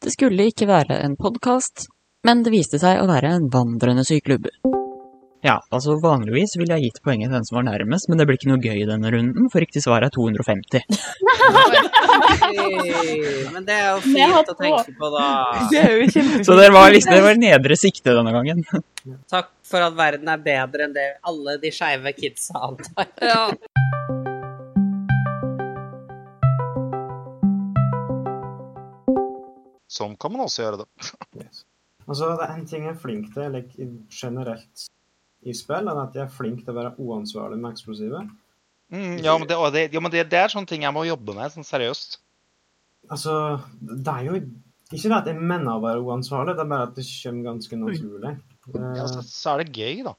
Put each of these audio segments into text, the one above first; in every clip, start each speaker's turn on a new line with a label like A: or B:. A: Dette skulle ikke være en podkast, men det viste seg å være en vandrende syklubbe.
B: Ja, altså vanligvis ville jeg gitt poenget til den som var nærmest, men det blir ikke noe gøy i denne runden, for riktig svar er 250.
C: Men det er jo
D: Men jeg har
C: fint å
D: på.
C: tenke på, da.
E: Det er jo kjempefint.
B: Så dere var liksom, det var nedre sikte denne gangen.
C: Takk for at verden er bedre enn det alle de skeive kidsa antar.
F: Ja.
G: Sånn kan man også gjøre det.
H: Yes. Altså, det er en ting jeg er flink til like, i- generelt i spill, er at jeg er flink til å være uansvarlig med eksplosiver.
G: Mm, ja, men, det, og det, ja, men det, det er sånne ting jeg må jobbe med, sånn seriøst.
H: Altså, det er jo ikke det at jeg mener å være uansvarlig, det er bare at det kommer ganske naturlig.
G: Ja, så,
H: Eh,
G: Altså, så er det gøy, da.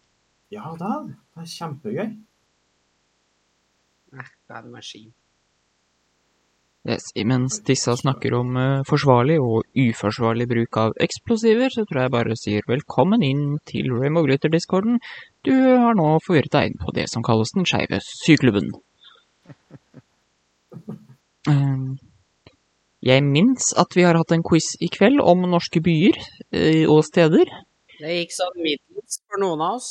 H: ja, det er, det er kjempegøy.
C: Det er en maskin.
B: Yes, mens disse snakker om eh, forsvarlig og uforsvarlig bruk av eksplosiver, så tror jeg bare sier velkommen inn til Rainbow Glitter-discorden. Du har nå forvirret deg inn på det som kalles den skeive syklubben. Eh, Jeg minns at vi har hatt en quiz i kveld om norske byer eh, og steder.
C: Det gikk sånn middels for noen av oss.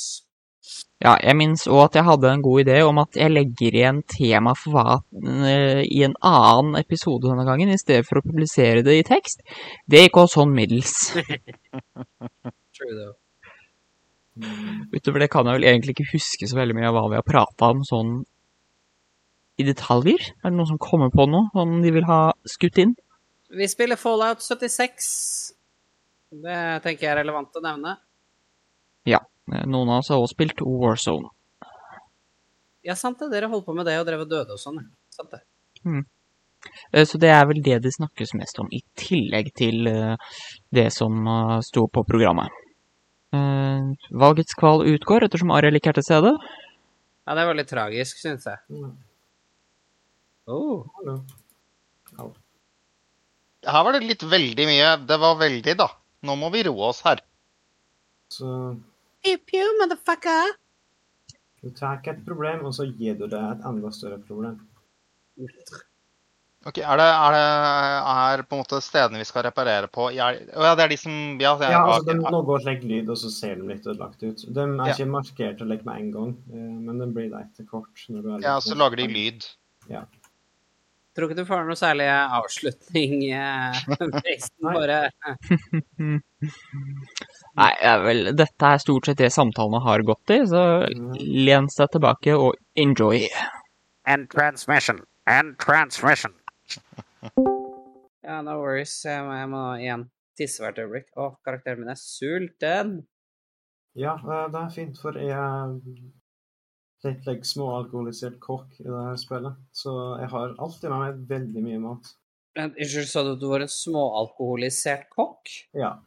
B: Ja, jeg minnes òg at jeg hadde en god idé om at jeg legger igjen tema for hva eh, i en annen episode denne gangen, i stedet for å publisere det i tekst. Det gikk også sånn middels.
C: True, though.
B: Utover det kan jeg vel egentlig ikke huske så veldig mye av hva vi har prata om sånn i detaljer. Er det noen som kommer på noe som de vil ha skutt inn?
C: Vi spiller Fallout 76. Det tenker jeg er relevant å nevne.
B: Eh, Noen av oss har også spilt Warzone.
C: Ja, sant det. Dere holdt på med det og drev og døde og sånn. ja. Sant det.
B: Eh, Så det er vel det det snakkes mest om, i tillegg til eh, det som eh, sto på programmet. Eh, Valgets kval utgår ettersom Ariel ikke er til stede.
C: Ja, det var litt tragisk, syns jeg.
H: Mm,
C: Oh.
H: hallo.
G: Her var det litt veldig mye. Det var veldig, da. Nå må vi roe oss her.
H: Så
C: Pew, pew, motherfucker.
H: du tar et problem, og så gir du det et enda større problem.
G: Ok, Er det, er det er på en måte stedene vi skal reparere på i er- Å ja, det er de som Ja, det er,
H: Ja, altså,
G: ok,
H: den, nå går slik lyd, og så ser de litt ødelagt ut. De er
G: Ja.
H: ikke markert like med en gang, eh, men den blir der etter kort. Når du er
G: ja, så lager de lyd.
C: Tror ikke du får noe særlig avslutning, eh, Mason.
H: Nei.
C: Bare
B: Nei, ja, vel, dette er stort sett det samtalene har gått i, så len deg tilbake og enjoy.
I: and transmission and transmission.
C: Ja, no worries. Jeg må, jeg må igjen tisse hvert øyeblikk. Å, karakteren min er sulten.
H: Ja, eh, det er fint, for jeg er litt like, småalkoholisert kokk i det her spillet. Så jeg har alltid med meg veldig mye mat.
C: Men, Unnskyld, sa du at du var en småalkoholisert kokk?
H: Ja.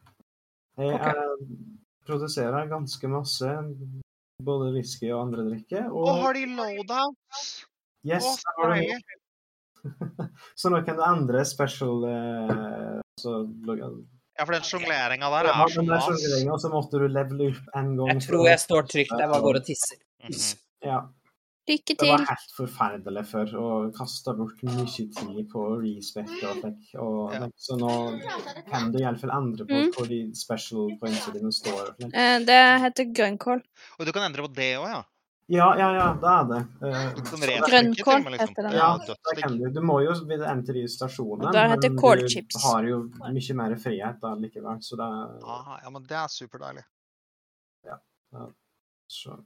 H: Jeg
C: Ok.
H: eh, produserer ganske masse, både whisky og andre drikker.
G: Å,
H: Og
G: har de loadouts?
H: yes,
G: Å,
H: der har du
G: deilig.
H: Så nå kan du endre special eh, så,
G: Ja, for den sjongleringa der
H: Ja,
G: er så
H: men det
G: mas.
H: er sånn, Og så måtte du levele opp en gang.
C: Jeg
H: for
C: tror
H: å-
C: jeg står trygt. Jeg bare går og tisser.
G: Mhm.
H: Ja.
F: Lykke
H: Det var
F: til.
H: helt forferdelig før, og kasta bort mye tid på respect og slik. Og
G: Mm. Ja.
H: like, så nå kan du iallfall endre på
F: Mm.
H: hvor de special pointsene dine står. og sånn. slik.
F: Eh, Det heter grønnkål.
G: Og du kan endre på det òg, ja.
H: Ja, ja, ja, det er det. Eh,
G: Du kan
H: så det-
G: retrykke
F: Grønnkål
G: til og med, liksom.
F: heter den.
H: ja,
G: Ja,
H: det
G: dødsdigg.
H: kan du. Du må jo ved en til de stasjonene,
F: Og der heter kålchips.
H: du har jo mye mer frihet da likevel, så det er
G: Ah, ja, men det er superdeilig.
H: så.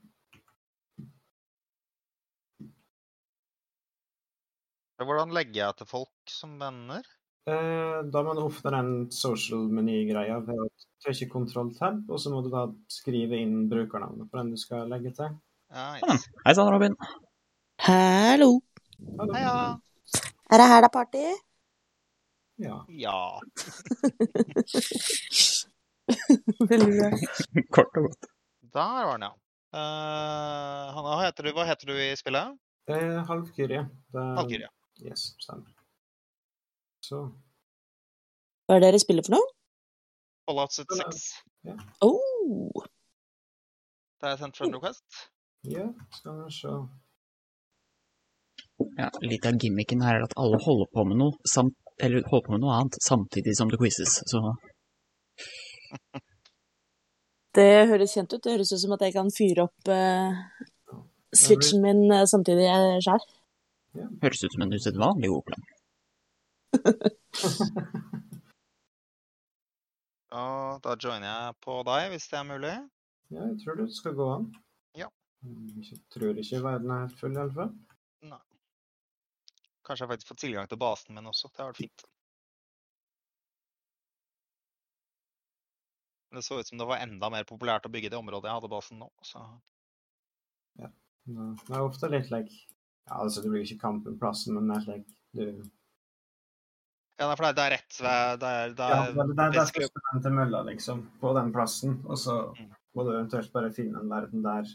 G: Hvordan legger jeg til folk som venner?
H: Eh, Da må du åpne den social-meny-greia ved å trykke kontroll-tab, og så må du da skrive inn brukernavnet på den du skal legge til.
G: Ja,
B: Ah. Hei sann, Robin.
E: Hallo.
H: Hallo.
G: ja.
E: Er det her det er party?
H: Ja.
G: ja.
E: Veldig bra.
B: Kort og godt.
G: Der var den, ja. Eh, Hanna, hva heter, du, hva heter du i spillet?
H: Eh, Halvkyrie. Det er-
G: Valkyrie.
H: Yes, stemmer. Så
E: Hva er det dere spiller for noe?
G: Fallout 76.
E: Oh.
G: Det er sendt friend request.
H: ja, skal vi se.
B: Ja, litt av gimmicken her er at alle holder på med noe eller holder på med noe annet samtidig som det quizes. Så
E: Det høres kjent ut. Det høres ut som at jeg kan fyre opp eh, switchen min eh, samtidig sjøl.
B: høres ut som en usedvanlig god plan.
G: Og da joiner jeg på deg, hvis det er mulig.
H: Ja, jeg tror det skal gå an. Mm,
G: Ja.
H: Jeg tror ikke verden er helt full, i alle fall.
G: Kanskje jeg faktisk får tilgang til basen min også. Det har vært fint. Men det så ut som det var enda mer populært å bygge det området jeg hadde basen nå, så
H: Nei, Det er ofte litt like ja, altså Det blir ikke kamp om plassen, men det er like du,
G: Ja, nei, for det er- det er rett ved Det er, det
H: ja,
G: er
H: Det er- det er
G: best
H: derfor
G: gruppe.
H: du til mølla, liksom, på den plassen. Og så
G: Mm.
H: må du eventuelt bare finne en verden der.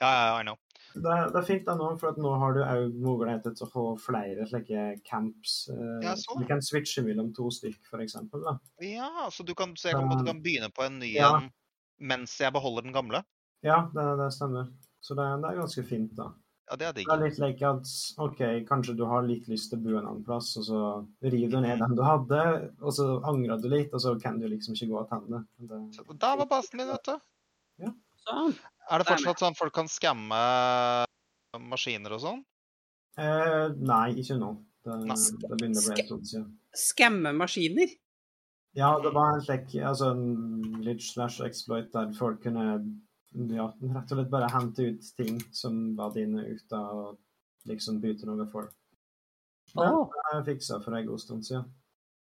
G: Ja, ja, ja, I know.
H: Det er, det er fint da nå, for at nå har du òg muligheter til å få flere slike camps. eh,
G: Ja, så.
H: Du kan switche mellom to stykk, for eksempel. Da.
G: Ja, så du kan, så jeg kan, på en måte kan begynne på en ny
H: Ja.
G: en mens jeg beholder den gamle?
H: Ja, det, det stemmer. Så det, er- det er ganske fint, da.
G: Ja, det er digg.
H: Det er litt like at OK, kanskje du har litt lyst til å bo en annen plass, og så river du ned den du hadde, og så angrer du litt, og så kan du liksom ikke gå tilbake. Det...
G: Så Der var basen min, vet du.
C: Sånn.
G: Er det
C: Der er
G: fortsatt sånn folk kan skamme maskiner og sånn?
H: Eh, nei, ikke nå. Det,
G: Nei.
H: det begynner å bli en stund siden.
C: Skamme maskiner.
H: Ja, det var en slik altså en litt slash exploit der folk kunne ja, rett og slett bare hente ut ting som var dine ut av og liksom bytte noe for. Det
C: Åh.
H: har jeg fiksa for en god stund siden.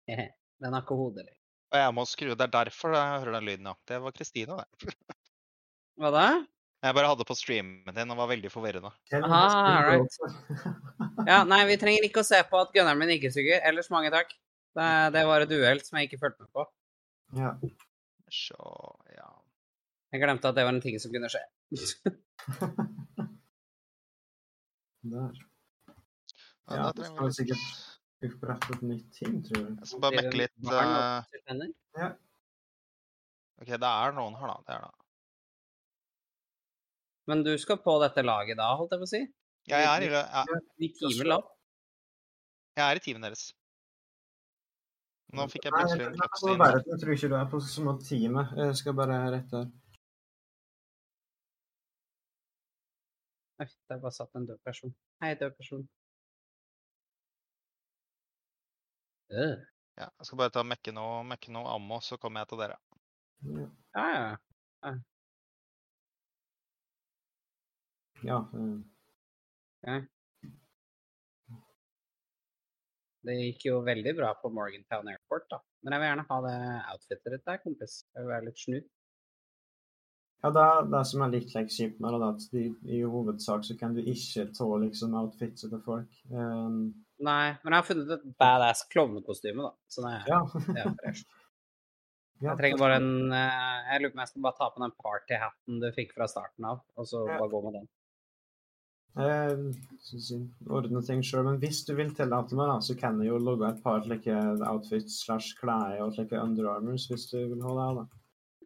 C: Den har ikke hode lenger.
G: Og jeg må skru Det er derfor jeg hører den lyden, ja. Det var Kristine, det.
C: Hva da?
G: Jeg bare hadde på streamen din og var veldig forvirrende.
C: Ah, Ja, nei, vi trenger ikke å se på at gunneren min ikke suger. Ellers mange takk. Det, det var et uhell som jeg ikke fulgte med på.
H: ja.
G: Så, ja.
C: Jeg glemte at det var en ting som kunne skje.
H: Der.
G: Ja,
H: Ja,
G: da
H: det
G: trenger
H: skal
G: vi
H: vi sikkert opprettet nytt ting, tror jeg.
G: Jeg skal bare mekke litt
C: Barn
G: eh,
C: opp til tenner.
G: OK, det er noen her, da. Det er det.
C: Men du skal på dette laget da, holdt jeg på å si?
G: Ja, jeg, er, i- jeg,
C: Vi timer lavt.
G: jeg er i teamet deres. Nå fikk jeg
H: Nei,
G: plutselig
H: jeg,
G: en
H: jeg,
G: klaps
H: jeg,
G: inn.
H: bare, jeg tror ikke du er på som et time. Jeg skal bare rette her.
C: Oi, der bare satt en død person. Hei, død person. Øh.
G: Ja, jeg skal bare ta og mekke noe, mekke noe ammo, så kommer jeg til dere.
H: Ja,
C: Ja, ja.
H: ja eh,
C: Det gikk jo veldig bra på Morgantown Airport, da. Men jeg vil gjerne ha det outfitet ditt der, kompis. Jeg vil være litt snu.
H: ja det, er- det som er litt like kjipt med det, er at de, i hovedsak så kan du ikke ta liksom outfitset til folk. Eh,
C: Nei, men jeg har funnet et badass klovnekostyme, da. Så det er,
H: ja.
C: det er fresh.
H: ja.
C: Jeg trenger bare en eh, Jeg lurer på om jeg skal bare ta på den partyhatten du fikk fra starten av, og så
H: Ja.
C: bare gå med den.
H: Eh, skal vi si, ordne ting selv, men hvis du vil tillate meg, da, så kan jeg jo logge et par slike outfits slash klær og slike underarmers hvis du vil ha det. da.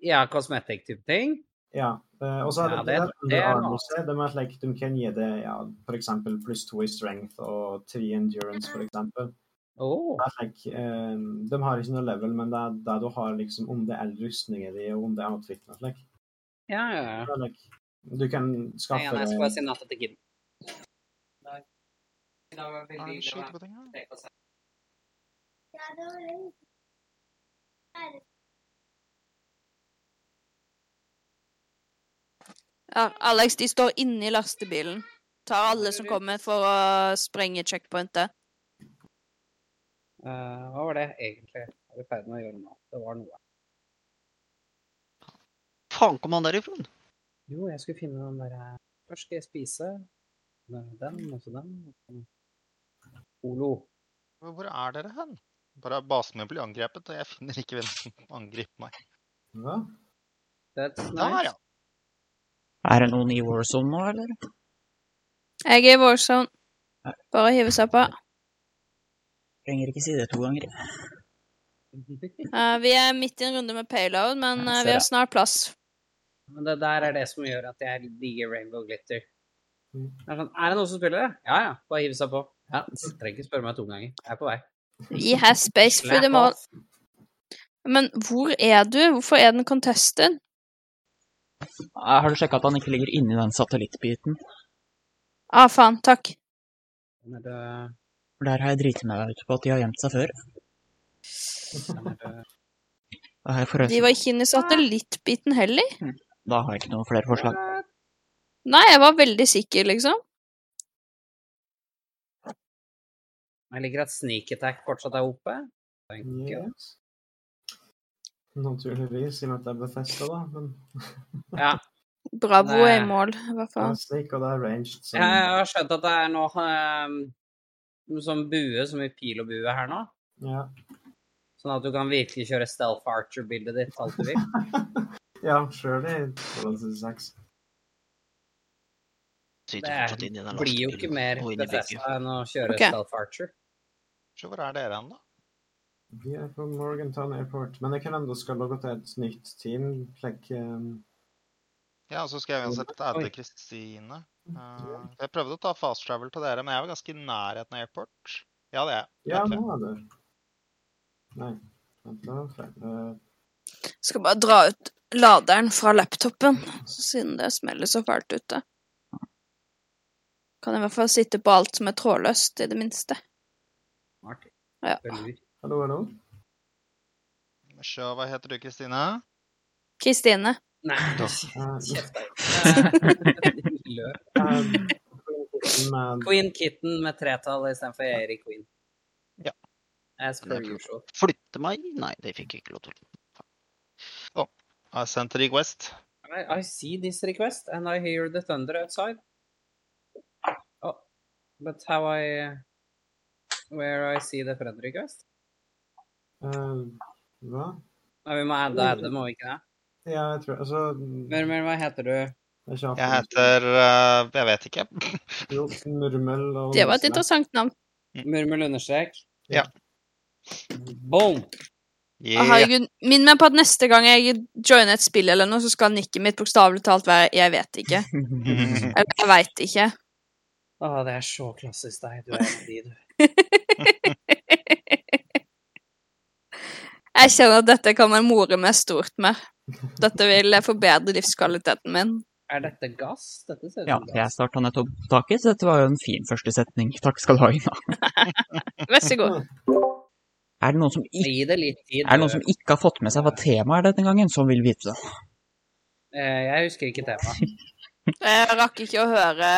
C: Ja, kosmetikk-type ting.
H: Ja. eh, og så er
C: Ja, det-
H: det, det,
C: det er
H: underarmers,
C: noe.
H: det med at like, de kan gi det ja, f.eks. pluss to i strength og tre i endurance,
C: Mhm.
H: f.eks.
C: Åh.
H: Det er like, eh, de har ikke noe level, men det er det du har liksom om det er rustninger i og om det er outfitene. Like.
C: Ja, ja, ja.
H: Det er, Like, du kan
C: Nei,
H: skaffe
C: nei, jeg skal bare
H: deg
C: si natta til kidden. I dag var
G: Er det skyte på ting her?
F: Ja, Alex, de står inni lastebilen. Tar alle som kommer for å sprenge checkpointet.
C: Eh, hva var det egentlig jeg var i ferd med å gjøre nå? Det var noe.
G: Faen kom han derifra?
C: Jo, jeg skulle finne den der eh, Først skal jeg spise den, den og så den. og så den. Olo.
G: Men Hvor er dere hen? Bare basen min blir angrepet, og jeg finner ikke hvem som angriper meg.
H: ja.
C: That's
G: Der,
C: nice.
G: ja.
B: Er det noen i Warzone nå, eller?
F: Jeg er i Warzone. Bare hive seg på.
B: Trenger ikke si det to ganger.
F: Eh, vi er midt i en runde med payload, men
B: Ja,
F: eh,
B: ser
F: vi har
B: jeg.
F: snart plass.
C: Men det der er det som gjør at jeg digger Rainbow Glitter.
H: Mm.
C: Det er sånn Er det noen som spiller det? Ja ja, bare hiv seg på. Ja, Trenger ikke spørre meg to ganger. Jeg er på vei.
F: He has space for them all. Men hvor er du? Hvorfor er den contested?
J: Har du sjekka at han ikke ligger inni den satellittbiten?
F: Ah, faen. Takk.
C: Hvem er det
J: For der har jeg driti meg ut på at de har gjemt seg før.
C: Hvem er det
J: Da har jeg, forresten-
F: De var ikke inne i satellittbiten heller.
J: da har jeg ikke noen flere forslag.
F: Nei, jeg var veldig sikker, liksom.
C: Jeg liker at sneak attack fortsatt er oppe. Tenker jeg.
H: Yes. Naturligvis, i og med at det er Bethesda, da. Men
C: Ja.
F: Bravo
C: Nei.
F: er i mål, i hvert
H: det
F: fall.
H: er slik, og det er ranged. Så
G: sånn.
C: Jeg jeg har skjønt at det er noe eh, sånn bue, som i pil og bue her nå.
H: ja.
C: Sånn at du kan virkelig kjøre stealth archer-bildet ditt alt du vil.
H: ja, surely. Hvordan synes jeg seks?
C: Det
G: Sitter
C: er-
G: fortsatt inn i den
C: Blir jo ikke
G: lastebilen
C: mer
G: og inn i bygget.
C: Bethesda enn å kjøre
F: Ok.
C: stealth archer.
G: Så Hvor er dere hen, da?
H: Vi er på Morgantown Airport. Men jeg kan enda skal logge til et nytt team. Like, um,
G: Ja, og så skal jeg uansett adde
C: Oi. Mm.
G: Kristine. Eh, jeg prøvde å ta fast travel til dere, men jeg var ganske i nærheten av airport. Ja, det er jeg.
H: ja,
G: Vent litt.
H: nå er det Nei. Vent, da. Fred- eh,
F: Skal bare dra ut laderen fra laptopen, så siden det smeller så fælt ute. Kan i hvert fall sitte på alt som er trådløst, i det minste.
C: Smart.
F: Ja.
C: Du er lur.
H: Hallo, hallo.
G: Så hva heter du, Kristine?
F: Kristine.
C: Nei,
H: Eh,
C: kjeft deg. Løp.
H: eh, men-
C: Queen Kitten med tretall istedenfor Erik Queen.
G: Ja.
C: As per
G: Det er
C: usual.
G: Flytte meg? Nei, det fikk jeg ikke lov til. Å, har jeg sendt request?
C: I, I see this request and I hear the thunder outside. Oh, but how I Where I see the friend request?
H: eh, Hva?
C: Nei, vi må adde Adam, må vi ikke det?
H: Ja, jeg tror Altså
C: Men, men hva heter du?
H: Jeg, kjapper-
G: Jeg heter eh, Jeg vet ikke.
H: Jo, Murmel og
F: Det var et interessant navn.
C: Murmel understrek?
G: Ja.
C: Boom!
F: Å,
G: Yeah.
F: herregud, minn meg på at neste gang jeg joiner et spill eller noe, så skal nikket mitt bokstavelig talt være 'jeg vet ikke'. Eller 'jeg veit ikke'.
C: Å, det er så klassisk deg. Du er en av de, du.
F: Jeg kjenner at dette kan man more meg stort med. Dette vil forbedre livskvaliteten min.
C: Er dette gass? Dette ser ut
J: Ja,
C: som
J: jeg
C: gass.
J: starta nettopp taket, så dette var jo en fin første setning. Takk skal du ha, Ina.
F: Vær så god.
J: Er det noen som ikke,
C: Gi det litt tid.
J: er det noen
C: du.
J: som ikke har fått med seg hva temaet er denne gangen, som vil vite det?
C: Eh, Jeg husker ikke temaet.
F: Jeg rakk ikke å høre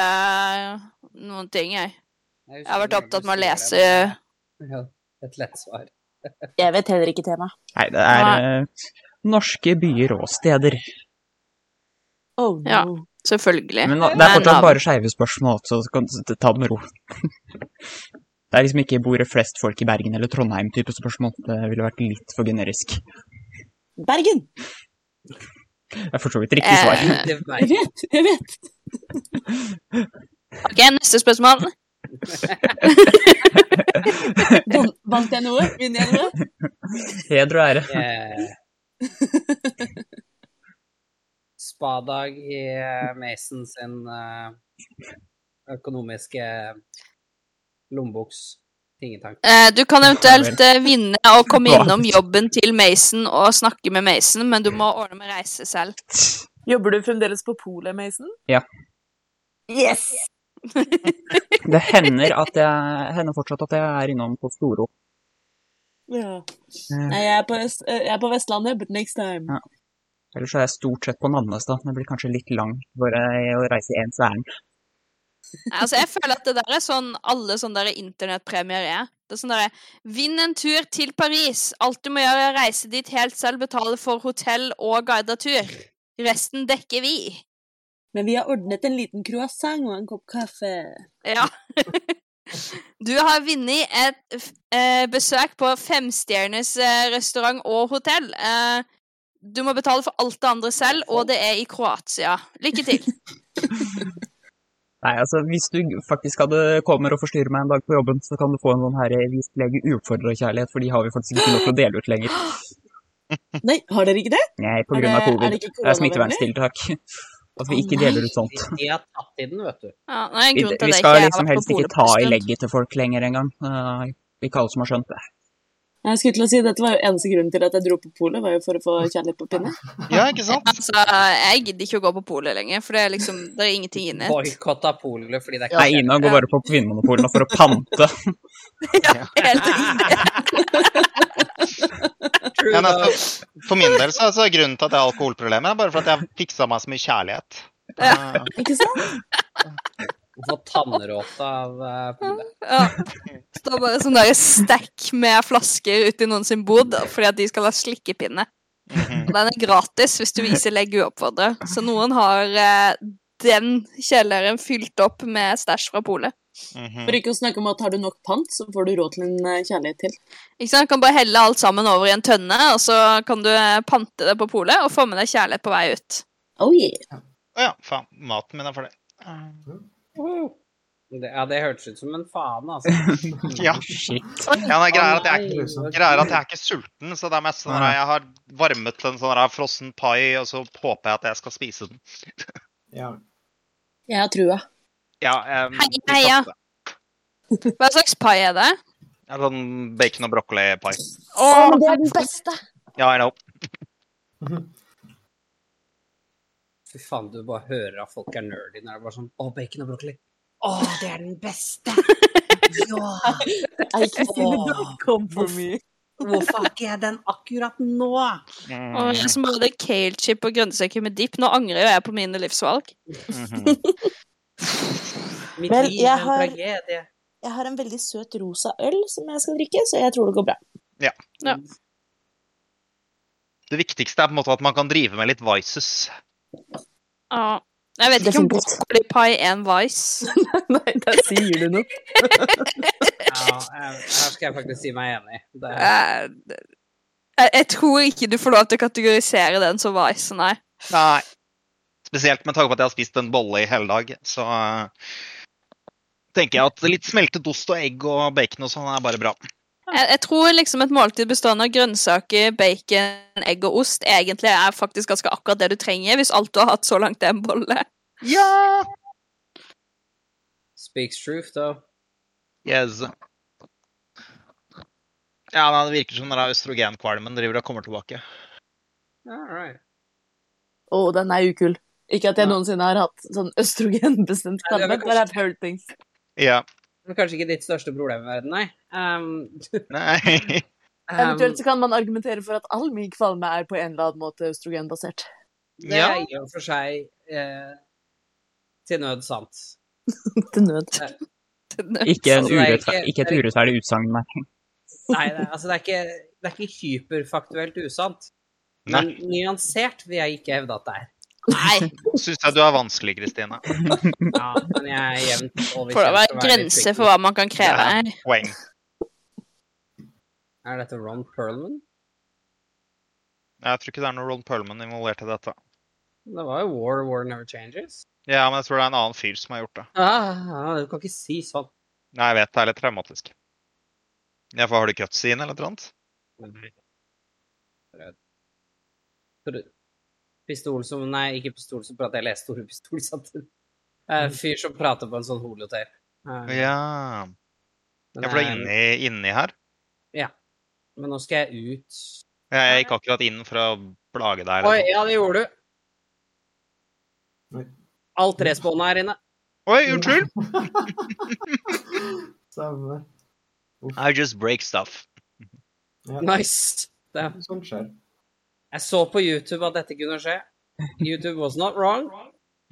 F: noen ting, jeg.
C: Jeg, husker
F: Jeg har vært
C: hvordan du
F: opptatt med å
C: sier
F: lese
C: det, men- Ja, Et lett svar.
E: Jeg vet heller ikke temaet.
J: Nei, det er eh, norske byer og steder.
E: Oh, no.
F: Ja. Selvfølgelig.
J: Men det er fortsatt
F: navn.
J: bare skeive spørsmål, så du kan du ta det med ro. Det er liksom ikke bor det flest folk i Bergen eller Trondheim-type spørsmål. Det ville vært litt for generisk.
E: Bergen!
J: Det er for så vidt riktig svar.
F: Eh,
C: Det var
E: Jeg vet, jeg
F: Eh,
E: vet.
F: OK, neste spørsmål.
E: Van- Vant jeg noe? Vinner jeg noe?
J: Heder og ære.
C: Eh, Spadag i eh, Mason sin eh, økonomiske lommeboks tingetank.
F: Eh, du kan eventuelt eh, vinne og komme innom jobben til Mason og snakke med Mason, men du må ordne med reise selv.
E: Jobber du fremdeles på polet, Mason?
J: Ja.
E: Yes!
J: Det hender, at jeg, hender fortsatt at jeg er innom på Storo.
E: Ja.
J: Eh,
E: Nei, jeg er, på Øst, eh, jeg er på Vestlandet, but next time.
J: Ja. Ellers er jeg stort sett på Nannestad. Det blir kanskje litt lang bare å reise i ens ærend.
F: Nei, Altså, jeg føler at det der er sånn alle sånne der internettpremier er. Det er sånn derre Vinn en tur til Paris. Alt du må gjøre, er å reise dit helt selv, betale for hotell og guidet tur. Resten dekker vi.
E: Men vi har ordnet en liten croissant og en kopp kaffe.
F: Ja. Du har vunnet et f- eh, besøk på femstjerners eh, restaurant og hotell. Eh, du må betale for alt det andre selv, og det er i Kroatia. Lykke til.
J: Nei, altså, hvis du faktisk hadde kommer og forstyrrer meg en dag på jobben, så kan du få en sånn her vis lege uoppfordra kjærlighet, for de har vi faktisk ikke lov til å dele ut lenger.
E: Nei, har dere ikke det?
J: Nei, på
E: Er
J: grunn av
E: det- er
J: covid.
E: det ikke
J: Det er
E: koronavennlig?
J: smitteverntiltak. At vi
E: Å,
J: ikke
E: nei.
J: deler ut sånt.
C: De har tatt i den, vet du.
F: Ja, det er en
J: Vi,
F: grunn til
J: vi
F: at jeg ikke
J: skal
F: har
J: liksom
F: vært på
J: helst ikke
F: polet på
J: ta
F: en
J: i
F: stund.
J: legget til folk lenger engang. Eh, Ikke alle som har skjønt det.
E: Jeg skulle til å si, Dette var jo eneste grunnen til at jeg dro på polet, var jo for å få kjærlighet på pinne.
G: Ja, ikke sant?
F: Altså, jeg gidder ikke å gå på polet lenger, for det er liksom, det er ingenting inni det.
C: Boikott av polet fordi det er
G: Ja.
C: ikke
J: Nei, Ina går bare på Vinmonopolet nå for å pante.
F: Helt riktig.
C: true.
G: Ja,
C: da.
G: altså, nettopp. For min del så, så er grunnen til at jeg har alkoholproblemer, er bare for at jeg fiksa meg så mye kjærlighet. Eh,
E: Ikke sant?
C: Få tannråte av eh, polet.
F: Ja. Står bare sånn der stekk med flasker ute i noen sin bod fordi at de skal ha slikkepinne.
G: mhm.
F: Og den er gratis hvis du viser legg uoppfordra. Så noen har eh, den kjelleren fylt opp med stæsj fra polet.
G: Mhm.
E: For ikke å snakke om at har du nok pant, så får du råd til en eh, kjærlighet til.
F: Ikke sant? Du kan bare helle alt sammen over i en tønne, og så kan du eh, pante det på polet og få med deg kjærlighet på vei ut.
E: Oh yeah.
G: Å ja, faen. Maten min er for det. Eh,
C: Woo! Det, ja, det hørtes ut som en faen, altså.
G: Ja.
J: Shit.
G: Ja, nei, greia er at jeg,
H: Nei, så-
G: greia er at jeg er ikke sulten, så det er mest sånn at jeg har varmet en sånn her frossen pai, og så håper jeg at jeg skal spise den.
H: Ja.
E: Jeg har trua.
G: Ja, em,
F: Hei,
G: vi
F: hei, ja.
G: satser.
F: Hva slags pai er det?
G: Ja, Sånn bacon- og broccoli-pai.
E: Å, det er den beste!
G: Ja, I know.
C: Fy faen, du bare hører at folk er nerdy når det er bare sånn Å, bacon og broccoli. Å, det er den beste! Ja!
E: Jeg ikke si det, da. Kom for
C: mye. Hvorfor har ikke jeg den akkurat nå?
G: Mm,
F: Og jeg som både kale chip og grønnsaker med dipp. Nå angrer jo jeg på mine livsvalg.
G: mhm.
C: Mitt
E: Vel,
C: liv
E: jeg
C: er en
E: har-
C: tragedie.
E: Jeg har en veldig søt rosa øl som jeg skal drikke, så jeg tror det går bra.
F: Ja.
G: Det viktigste er på en måte at man kan drive med litt vices.
F: Ja. Jeg vet ikke om
E: Definitivt.
F: broccoli pie er en vice.
E: Nei, der sier du noe.
C: Ja, eh, her skal jeg faktisk si meg enig. Det er,
F: Eh, Jeg, jeg tror ikke du får lov til å kategorisere den som vice, nei.
G: Nei. Spesielt med tanke på at jeg har spist en bolle i hele dag, så eh, tenker jeg at litt smeltet ost og egg og bacon og sånn er bare bra.
F: Jeg, jeg tror liksom et måltid bestående av grønnsaker, bacon, egg og ost egentlig er faktisk ganske akkurat det du trenger hvis alt du har hatt så langt er en bolle.
G: Ja!
C: speaks truth, though.
G: Yes. Ja, nei, det virker som den der østrogenkvalmen driver og kommer tilbake.
C: All right.
E: Å, den er ukul. Ikke at jeg
C: Ja.
E: noensinne har hatt sånn
C: Nei,
E: østrogenbestemt
C: det
E: kvalme.
C: var
E: Bare I've heard things.
G: Ja.
C: Men kanskje ikke ditt største problem i verden, nei. Um,
G: Nei.
C: um,
E: Eventuelt så kan man argumentere for at all min kvalme er på en eller annen måte østrogenbasert.
C: ehm, det
G: Ja.
C: er i og for seg eh, til nød sant.
E: Til nød.
J: Ikke, en
C: Altså, det er
J: urettfer-
C: ikke-
J: ikke et urettferdig utsagn, nei.
C: Nei, det, altså, det, er ikke, det er ikke hyperfaktuelt usant. Men nyansert vil jeg ikke hevde at det er.
F: Nei,
G: Syns jeg du er vanskelig, Kristine.
C: Ja, men jeg er jevnt over kjent til å
F: får det være
C: være litt
F: grenser
C: tricky.
F: for hva man kan kreve her.
G: Poeng.
C: Er dette Ron Perlman?
G: Jeg tror ikke det er noe Ron Perlman involvert i dette.
C: Det var jo War, War Never Changes.
G: Ja, men jeg tror det er en annen fyr som har gjort det.
C: Ah, ah, du kan ikke si sånn.
G: Nei, jeg vet det er litt traumatisk. Ja, for har du cuts i den, eller noe annet?
C: Tror- Pistol som Nei, ikke pistol som prater, jeg leste ordet pistol samtidig. Eh, Fyr som prater på en sånn holotape. Eh,
G: Ja.
C: men
G: ja for det
C: jeg-
G: er inni, inni her.
C: Men nå skal jeg ut
G: Jeg jeg gikk akkurat inn for å plage deg. liksom.
C: Oi,
G: Eller.
C: ja, det gjorde du.
H: Oi.
C: Alt respawna her inne.
G: noe. Oi, unnskyld!
H: Stemmer.
G: I just break stuff.
H: Ja,
C: Nice. Det.
H: sånt skjer.
C: Jeg så på YouTube at dette kunne skje. YouTube was not wrong.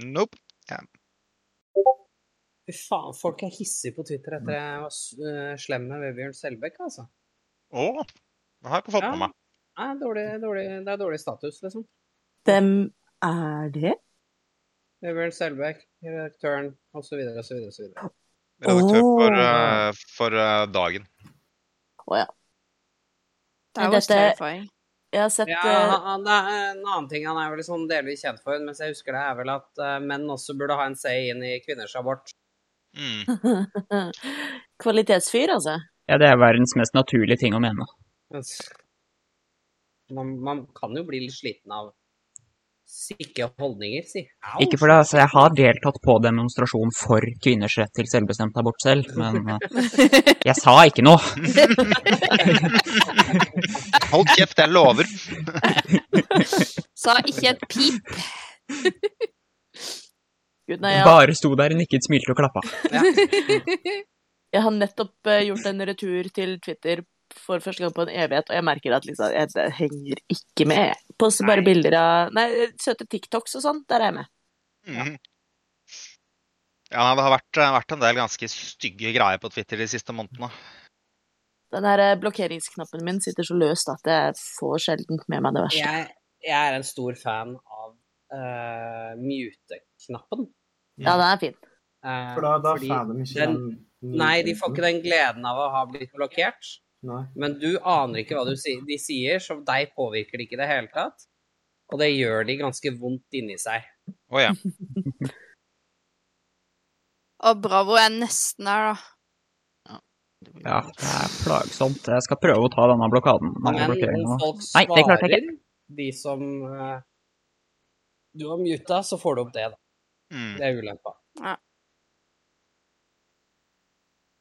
G: Nope.
C: Fy faen, folk er hissige på Twitter etter jeg var s- eh, slem med Vebjørn Selbekk, altså.
G: Å, det har jeg ikke fått
C: Ja.
G: med meg.
C: Nei, dårlig, dårlig, det er dårlig status, liksom.
E: Hvem er det?
C: Vebjørn Selbekk, redaktøren, osv., osv., osv.
G: Redaktør for,
E: Åh.
G: eh, for eh, dagen.
F: Det er jo
E: Dette-
F: terrifying.
E: Jeg har sett
C: Ja,
E: eh,
C: han- han- det er en annen ting han er vel sånn delvis kjent for, mens jeg husker det, er vel at eh, menn også burde ha en say inn i kvinners abort.
G: Mm.
E: eh, Kvalitetsfyr, altså.
J: Ja, det er verdens mest naturlige ting å mene.
C: Man, man kan jo bli litt sliten av Sikke holdninger, si.
J: Ikke for det, altså, jeg har deltatt på demonstrasjon for kvinners rett til selvbestemt abort selv, men eh, jeg sa ikke noe.
G: Hold kjeft, jeg lover.
F: Sa ikke et pip.
E: Gud, nei, jeg,
J: Bare sto der, nikket, smilte og klappa.
E: jeg har nettopp eh, gjort en retur til Twitter for første gang på en evighet, og jeg merker at liksom, jeg, det henger ikke med. jeg. Poster bare bilder av Nei, eh, søte TikToks og sånn. Der er jeg med.
G: Mhm. Ja, det har vært, eh, vært en del ganske stygge greier på Twitter de siste månedene.
E: Den her eh, blokkeringsknappen min sitter så løst at jeg får sjelden med meg det verste.
C: Jeg, jeg er en stor fan av eh, mute-knappen.
E: Ja, den er fin.
C: Eh,
H: For da, da
C: fordi-
H: får de ikke
C: den-
H: den
C: Nei, de får ikke den gleden av å ha blitt blokkert.
H: Nei.
C: Men du aner ikke hva du sier. de sier, så deg påvirker det ikke i det hele tatt. Og det gjør de ganske vondt inni seg.
G: Å ja.
F: Og bravo jeg nesten er, da.
J: Ja, det er plagsomt. Jeg skal prøve å ta denne blokaden. Denne
C: Men
J: blokkeringen.
C: om
J: nå.
C: folk
J: Nei, det klarte
C: svarer, de som eh, du har muta, så får du opp det, da.
G: Mm.
C: Det er ulempa.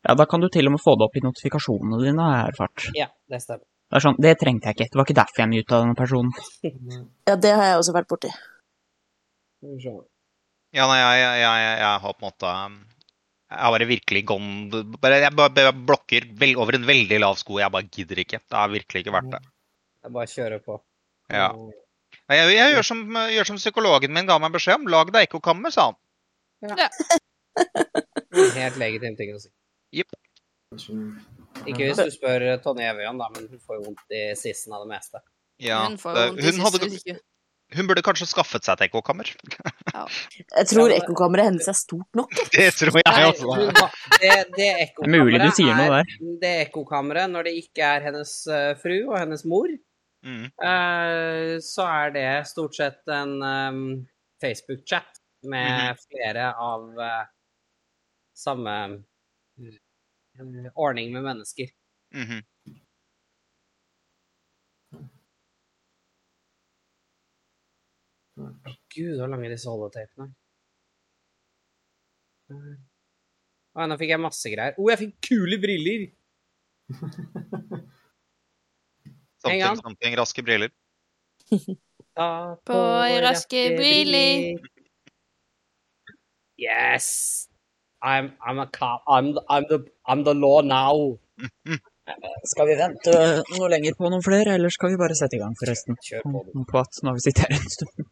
J: Ja, da kan du til og med få det opp i notifikasjonene dine, har jeg erfart.
C: Ja, det stemmer.
J: Det er sånn, det trengte jeg ikke. Det var ikke derfor jeg muta denne personen.
H: Nei.
E: Ja, det har jeg også vært borti.
C: Skal vi se.
G: Ja, nei, jeg, jeg, jeg, jeg har på en måte um, Jeg har bare virkelig gone bare, Jeg bare bare blokker vel, over en veldig lav sko. Jeg bare gidder ikke. Det har virkelig ikke vært det.
C: Jeg bare kjører på.
G: Ja. Nei, Jeg, jeg gjør, som, gjør som psykologen min ga meg beskjed om. Lag deg ekkokammer, sa han.
C: En Helt legitim ting å si.
H: Kanskje-
C: Ikke hvis du spør eh, Tonje Evjan, da, men hun får jo vondt i sissen av det meste.
G: Ja,
F: Hun får jo
G: det-
F: vondt i
G: hun, hadde,
F: siste uke.
G: hun burde kanskje skaffet seg et ekkokammer.
E: Jeg tror
C: Ja, men-
E: ekkokammeret hennes er stort nok. jeg.
G: Det tror jeg
C: Nei,
G: også.
C: hun har- Det,
J: Det
C: det
J: er mulig du sier noe
C: ekkokammeret
J: der.
C: er det ekkokammeret når det ikke er hennes eh, fru og hennes mor.
G: Mm.
C: eh, så er det stort sett en em, Facebook-chat med flere av eh, samme eh, ordning med mennesker.
G: mhm.
C: Gud, hvor lange disse holdetapene er. Å, nå fikk jeg masse greier. Å, jeg fikk kule briller! En gang.
G: Something, something, raske briller.
C: Ta
F: På raske briller.
C: Yes! I'm, I'm a cop. I'm the, I'm, the, I'm the law now.
J: Skal vi vente eh, noe lenger på noen flere, eller skal vi bare sette i gang, forresten?
C: Kjør på, du.
J: På at nå har vi sittet her en stund.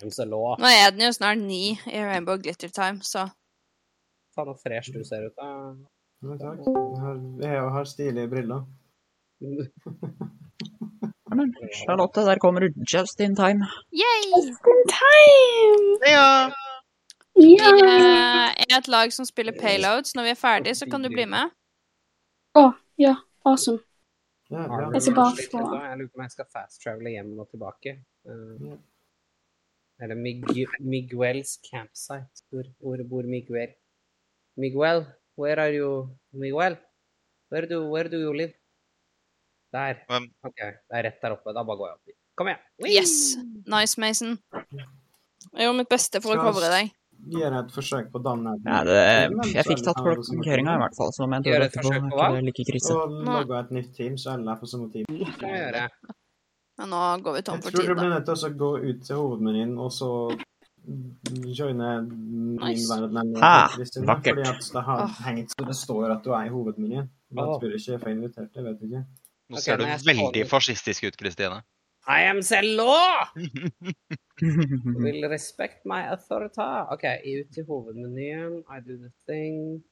C: I'm the law.
F: Nå er den jo snart ni i Rainbow Glitter Time, så
C: Faen, så fresh du ser ut. da.
H: Nei, takk. Jeg har, jeg har stilige briller.
J: Ja, men, Charlotte, der kommer du just in time.
F: yay!
G: Ja.
F: Vi eh, er et lag som spiller payloads. Når vi er ferdig, så kan du bli med.
K: Awesome.
H: Ja,
C: Har du
H: ja.
K: Jeg skal bare
C: slitt
K: få-
C: litt da? Jeg lurer på om jeg skal fast-travele hjem og tilbake. Eh,
H: Ja.
C: Eller Migu Miguel's campsite. Hvor, hvor bor Miguel? Miguel, where are you? Miguel, where do, where do you live? Der.
G: Um.
C: OK, det er rett der oppe. Da bare går jeg opp dit. Kom igjen.
F: Yes! Nice, Mason. Jeg gjorde mitt beste for å covre deg.
H: Gjør et forsøk på å danne et
J: Ja, det, jeg fikk tatt blokkeringa i hvert fall, så om jeg dør
C: Gjøre et
J: etterpå, er
C: forsøk på
J: ikke
C: hva?
J: det like krise.
H: Og logge et nytt team, så alle er på samme team.
C: Det kan jeg gjøre.
F: Men nå går vi tom
H: Jeg
F: for
H: tror
F: tid,
H: du
F: da.
H: blir nødt til å gå ut til hovedmenyen og så joine min
F: Nice.
H: verden. eller
J: Ha,
H: noe, Kristin,
J: vakkert.
H: Fordi at det har
F: Åh.
H: hengt så det står at du er i hovedmenyen. Men
C: Åh.
H: jeg tror ikke jeg får invitert, jeg vet ikke.
G: Nå
C: Ok,
G: ser du
C: men jeg skal holde-
G: veldig fascistisk ut, Kristine.
C: I am the law! Will respect my authority. OK, ut til hovedmenyen. I do the thing.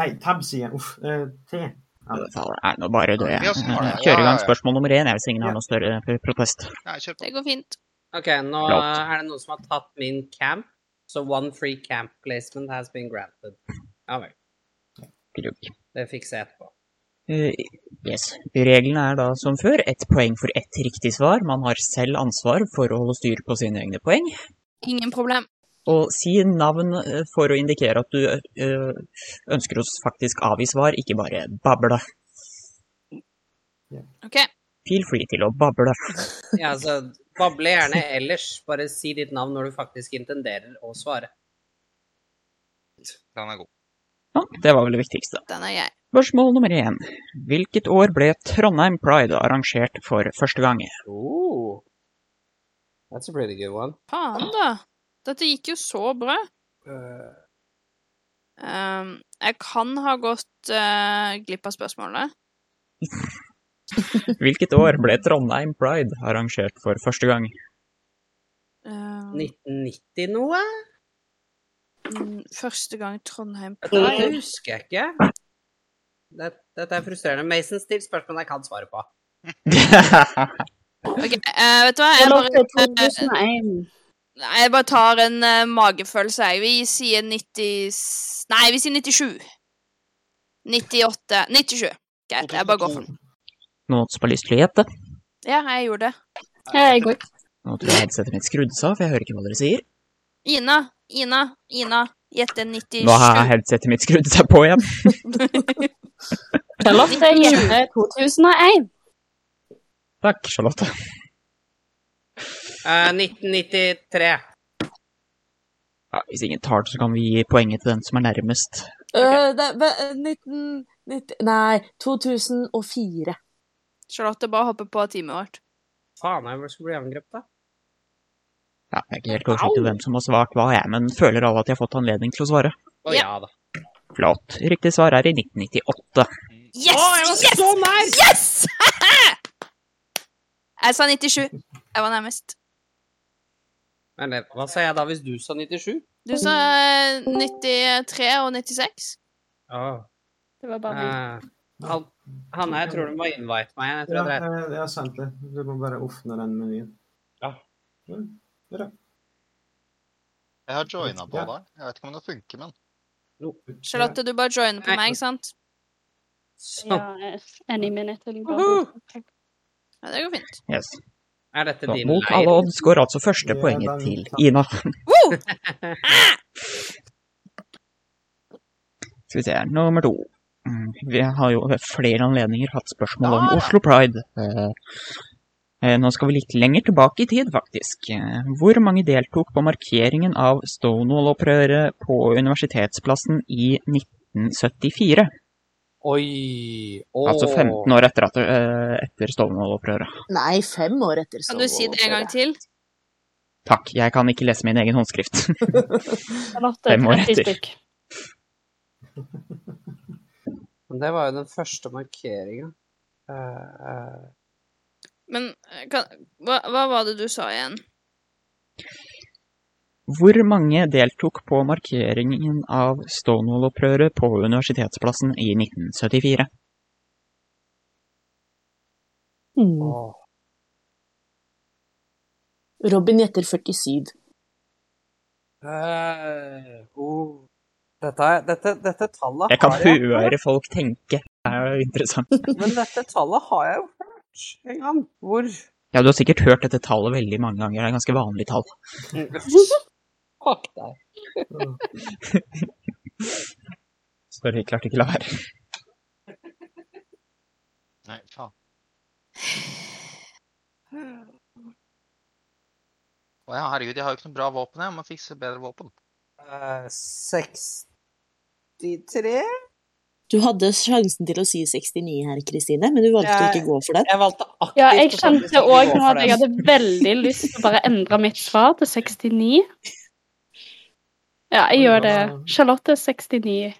H: Nei, tab sier jeg. Uff. eh, T.
J: Nei, nå bare dør jeg.
G: Ja, sånn var det.
J: Kjøre i
G: Ja, ja,
J: gang
G: ja.
J: spørsmål nummer én, jeg, hvis ingen har noen større eh, protest.
G: Ja, kjør på.
F: Det går fint.
C: OK, nå
J: Flott.
C: er det noen som har tatt min camp. Så one free camp placement has been granted. Ja vel.
J: Grugg.
C: Det fikser jeg etterpå.
J: Eh, Yes. Reglene er da som før ett poeng for ett riktig svar. Man har selv ansvar for å holde styr på sine egne poeng.
F: Ingen problem.
J: Og si navn eh, for å indikere at du eh, ønsker å faktisk avgi svar, ikke bare bable.
F: OK.
J: Feel free til å bable.
C: Ja, altså, bable gjerne ellers. Bare si ditt navn når du faktisk intenderer å svare.
G: Den er god.
J: Ja, det var vel det viktigste.
F: Den er jeg.
J: Spørsmål nummer én. Hvilket år ble Trondheim Pride arrangert for første gang?
C: Ooh. Oh. That's a pretty good one.
F: Faen, da. Dette gikk jo så bra.
C: Uh,
F: Ehm, jeg kan ha gått eh, glipp av spørsmålet.
J: Hvilket år ble Trondheim Pride arrangert for første gang?
F: Ehm,
C: 1990 noe?
F: mm, første gang Trondheim
C: Dette, dette
F: Pride.
C: husker jeg ikke. Dette, dette er frustrerende. Mason, still spørsmål jeg kan svare på.
F: Ok, eh, vet du hva?
K: Det
F: Jeg
K: lå
F: bare,
K: til 2001.
F: nei, jeg bare tar en eh, magefølelse. Jeg. Vi sier 90 Nei, vi sier 97. 98 97. Greit, jeg bare går for den.
J: Noen som har lyst til å gjette?
F: Ja, jeg gjorde det.
K: Jeg går.
J: Nå tror jeg headsetet mitt skrudde seg av, for jeg hører ikke hva dere sier.
F: Ina, Ina, Ina. Gjette 97.
J: Nå har headsetet mitt skrudd seg på igjen.
K: Jeg lovte jeg gjerne 2001.
J: Takk, Charlotte.
C: Eh, 1993.
J: Ja, hvis ingen tar det, så kan vi gi poenget til den som er nærmest.
E: Øh, det, ve- øh, 1990 Nei, 2004.
F: Charlotte bare hopper på teamet vårt.
C: Faen, jeg skulle bli angrepet, da.
J: Ja, jeg er ikke helt oversikt over hvem som har svart hva, jeg, men føler alle at de har fått anledning til å svare.
C: Å ja.
F: Ja.
C: da.
J: Flott. Riktig svar er i 1998.
C: Å,
F: Yes!
C: jeg var
F: yes!
C: så nær!
F: Yes! jeg sa 97. Jeg var nærmest.
C: Men det- hva sa jeg da hvis du sa 97?
F: Du sa eh, 93 og 96.
C: Å,
K: Det var bare meg.
C: eh, han, Hanne, jeg tror du må invite meg igjen. Jeg tror jeg
H: Ja,
C: dreit.
H: jeg, jeg har sendt det. Du må bare åpne den menyen.
C: Ja.
H: Mm,
G: Jeg har joina på
H: Ja.
G: der. Jeg vet ikke om det funker, men
F: Charlotte, du bare joiner på
C: Nei.
F: meg, ikke sant?
C: Så,
K: Ja, any minute. eller
C: Uhu.
K: bare-
F: Ja, det går fint.
J: Yes.
C: er dette
J: Så
C: din
J: mot alle odds går altså første
H: Ja,
J: poenget
H: den-
J: til Ina.
F: Woo!
J: Skal vi se, her, nummer to. Mm, Vi har jo ved flere anledninger hatt spørsmål om
G: Ja.
J: Oslo Pride. Eh, eh, Nå skal vi litt lenger tilbake i tid, faktisk. Eh, Hvor mange deltok på markeringen av Stonewall-opprøret på Universitetsplassen i 1974?
C: Oi! Å.
J: Altså 15 år etter, at, eh, etter Stonewall-opprøret.
E: Nei, fem år etter.
F: Kan du si det en gang til?
J: Takk, jeg kan ikke lese min egen håndskrift.
K: Charlotte,
J: Fem år
K: 30
J: etter.
K: stykk.
C: Men Det var jo den første markeringa. Eh, eh,
F: Men eh, kan, hva, hva var det du sa igjen?
J: Hvor mange deltok på markeringen av Stonewall-opprøret på Universitetsplassen i 1974?
E: Mm.
C: å.
E: Robin gjetter 47.
C: Eh, oh. dette, er- dette, dette tallet
J: Jeg kan
C: har jeg
J: høre folk tenke. Det er jo interessant.
C: Men dette tallet har jeg jo hørt en gang. Hvor
J: Ja, du har sikkert hørt dette tallet veldig mange ganger. Det er et ganske vanlig tall.
C: Fuck deg.
H: ja.
J: Sorry, klarte ikke la være.
G: Nei, faen. Å ja, herregud, jeg har jo ikke noe bra våpen, jeg. Jeg må fikse bedre våpen.
C: Eh, 63? Jeg
E: Du hadde sjansen til å si 69 her, Kristine, men du valgte å
C: Jeg-
E: ikke gå for den.
C: valgte aktivt
K: Ja, jeg
C: å faktisk
K: kjente
C: ikke
K: òg
C: gå for
K: nå at jeg
C: den.
K: hadde veldig lyst til å bare endre mitt svar til 69. Ja, jeg gjør det. Charlotte 69.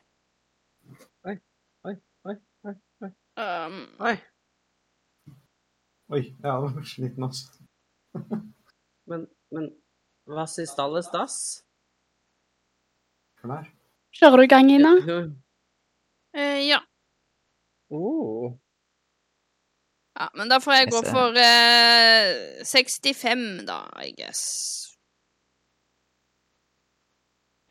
F: Um,
C: Oi,
H: Oi, jeg var sliten, altså.
C: men, men hva sies alles das?
H: Klær.
K: Kjører du i gang, Ina?
F: eh, ja.
C: Oh.
F: ja. Men da får jeg gå
J: Jeg ser.
F: for eh, 65, da, I guess.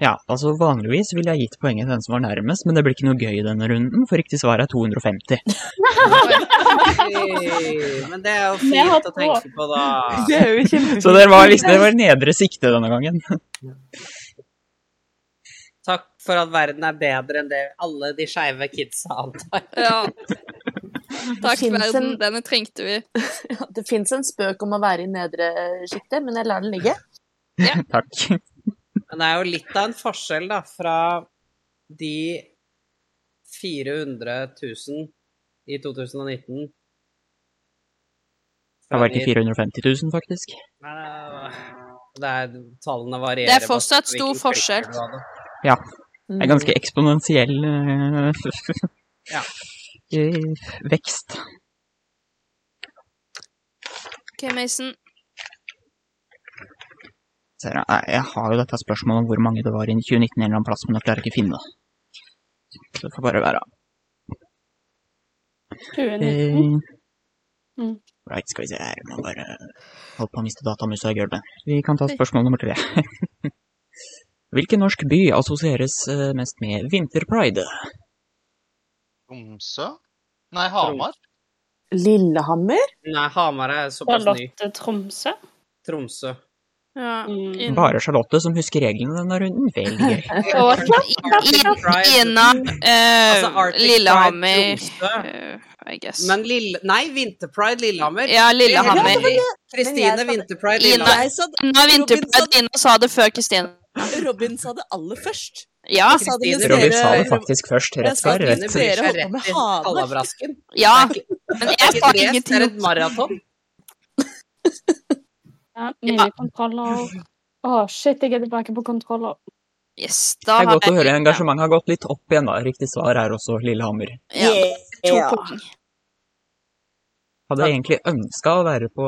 J: Ja, altså vanligvis ville jeg gitt poenget til den som var nærmest, men det blir ikke noe gøy i denne runden, for riktig svar er 250.
C: Hey, men det er jo
K: Vi har
C: fint å
K: på.
C: tenke på, da.
E: Det er jo
J: Så dere var liksom det var nedre sikte denne gangen.
C: Takk for at verden er bedre enn det alle de skeive kidsa antar.
F: Ja. Takk,
E: Finnes
F: verden.
E: en-
F: Denne trengte vi.
E: Det fins en spøk om å være i nedre øh, sjiktet, men jeg lar den ligge.
J: Takk.
C: Men det er jo litt av en forskjell, da, fra de 400 000 i 2019
J: Det har vært i 450 000, faktisk.
C: Nei, nei, nei. Det er, tallene varierer.
F: Det er fortsatt
C: basert på hvilken
F: stor
C: filter
F: forskjell.
C: du hadde.
J: Det er ganske eksponentiell eh,
C: Ja.
J: eh, vekst.
F: OK, Mason.
J: Ser jeg, nei, eh, jeg har jo dette spørsmålet om hvor mange det var i 2019 en eller annen plass, men jeg klarer ikke å finne det. Så det får bare være.
K: 2019.
J: Eh,
K: Mm.
J: Right, skal vi se her. Må bare holdt på å miste datamusa i gulvet. Vi kan ta spørsmål nummer tre. Hvilken norsk by assosieres eh, mest med vinterpride?
G: Tromsø? Nei, Hamar?
E: Hmm. Lillehammer?
C: Nei, eh, Hamar er såpass ny.
K: Charlotte Tromsø.
C: Tromsø.
F: Ja.
K: Mm.
F: Inn-
J: Bare Charlotte som husker reglene denne runden. Veldig gøy.
F: inn- Inna eh,
C: Altså, Arctic Pride
F: Lillehammer
C: Tromsø.
F: eh, I guess.
C: Men Lille... Nei, Vinterpride Lillehammer.
F: Ja, Lillehammer.
E: Men
C: Kristine
E: jeg sa-
C: Vinterpride
F: Ina.
C: Lillehammer.
E: Jeg sa det,
F: Inna Vinterpride. Inna sa det før Kristine.
E: Robin sa det aller først.
F: Ja.
E: Jeg sa det mens
C: Kristine
J: Robin
E: dere-
J: sa det faktisk først.
E: Jeg
J: Rett
E: sa
J: var
E: det
J: rett.
E: mine dere holdt på med Hamar.
C: Kallabrasken.
F: ja.
C: Det
F: Ah, Men
C: Det
F: jeg
C: er ikke et
F: sa
C: race, det
F: ingenting.
C: er et maraton.
K: Ja, mine kontroller. Å, shit, jeg er tilbake på kontroller.
F: Yes, da
J: Det er
F: har
J: godt å høre.
F: jeg-
J: Engasjementet har gått litt opp igjen. da. Riktig svar er også Lillehammer.
F: Ja, da har jeg to
E: Yeah.
F: poeng.
J: Hadde jeg egentlig ønska å være på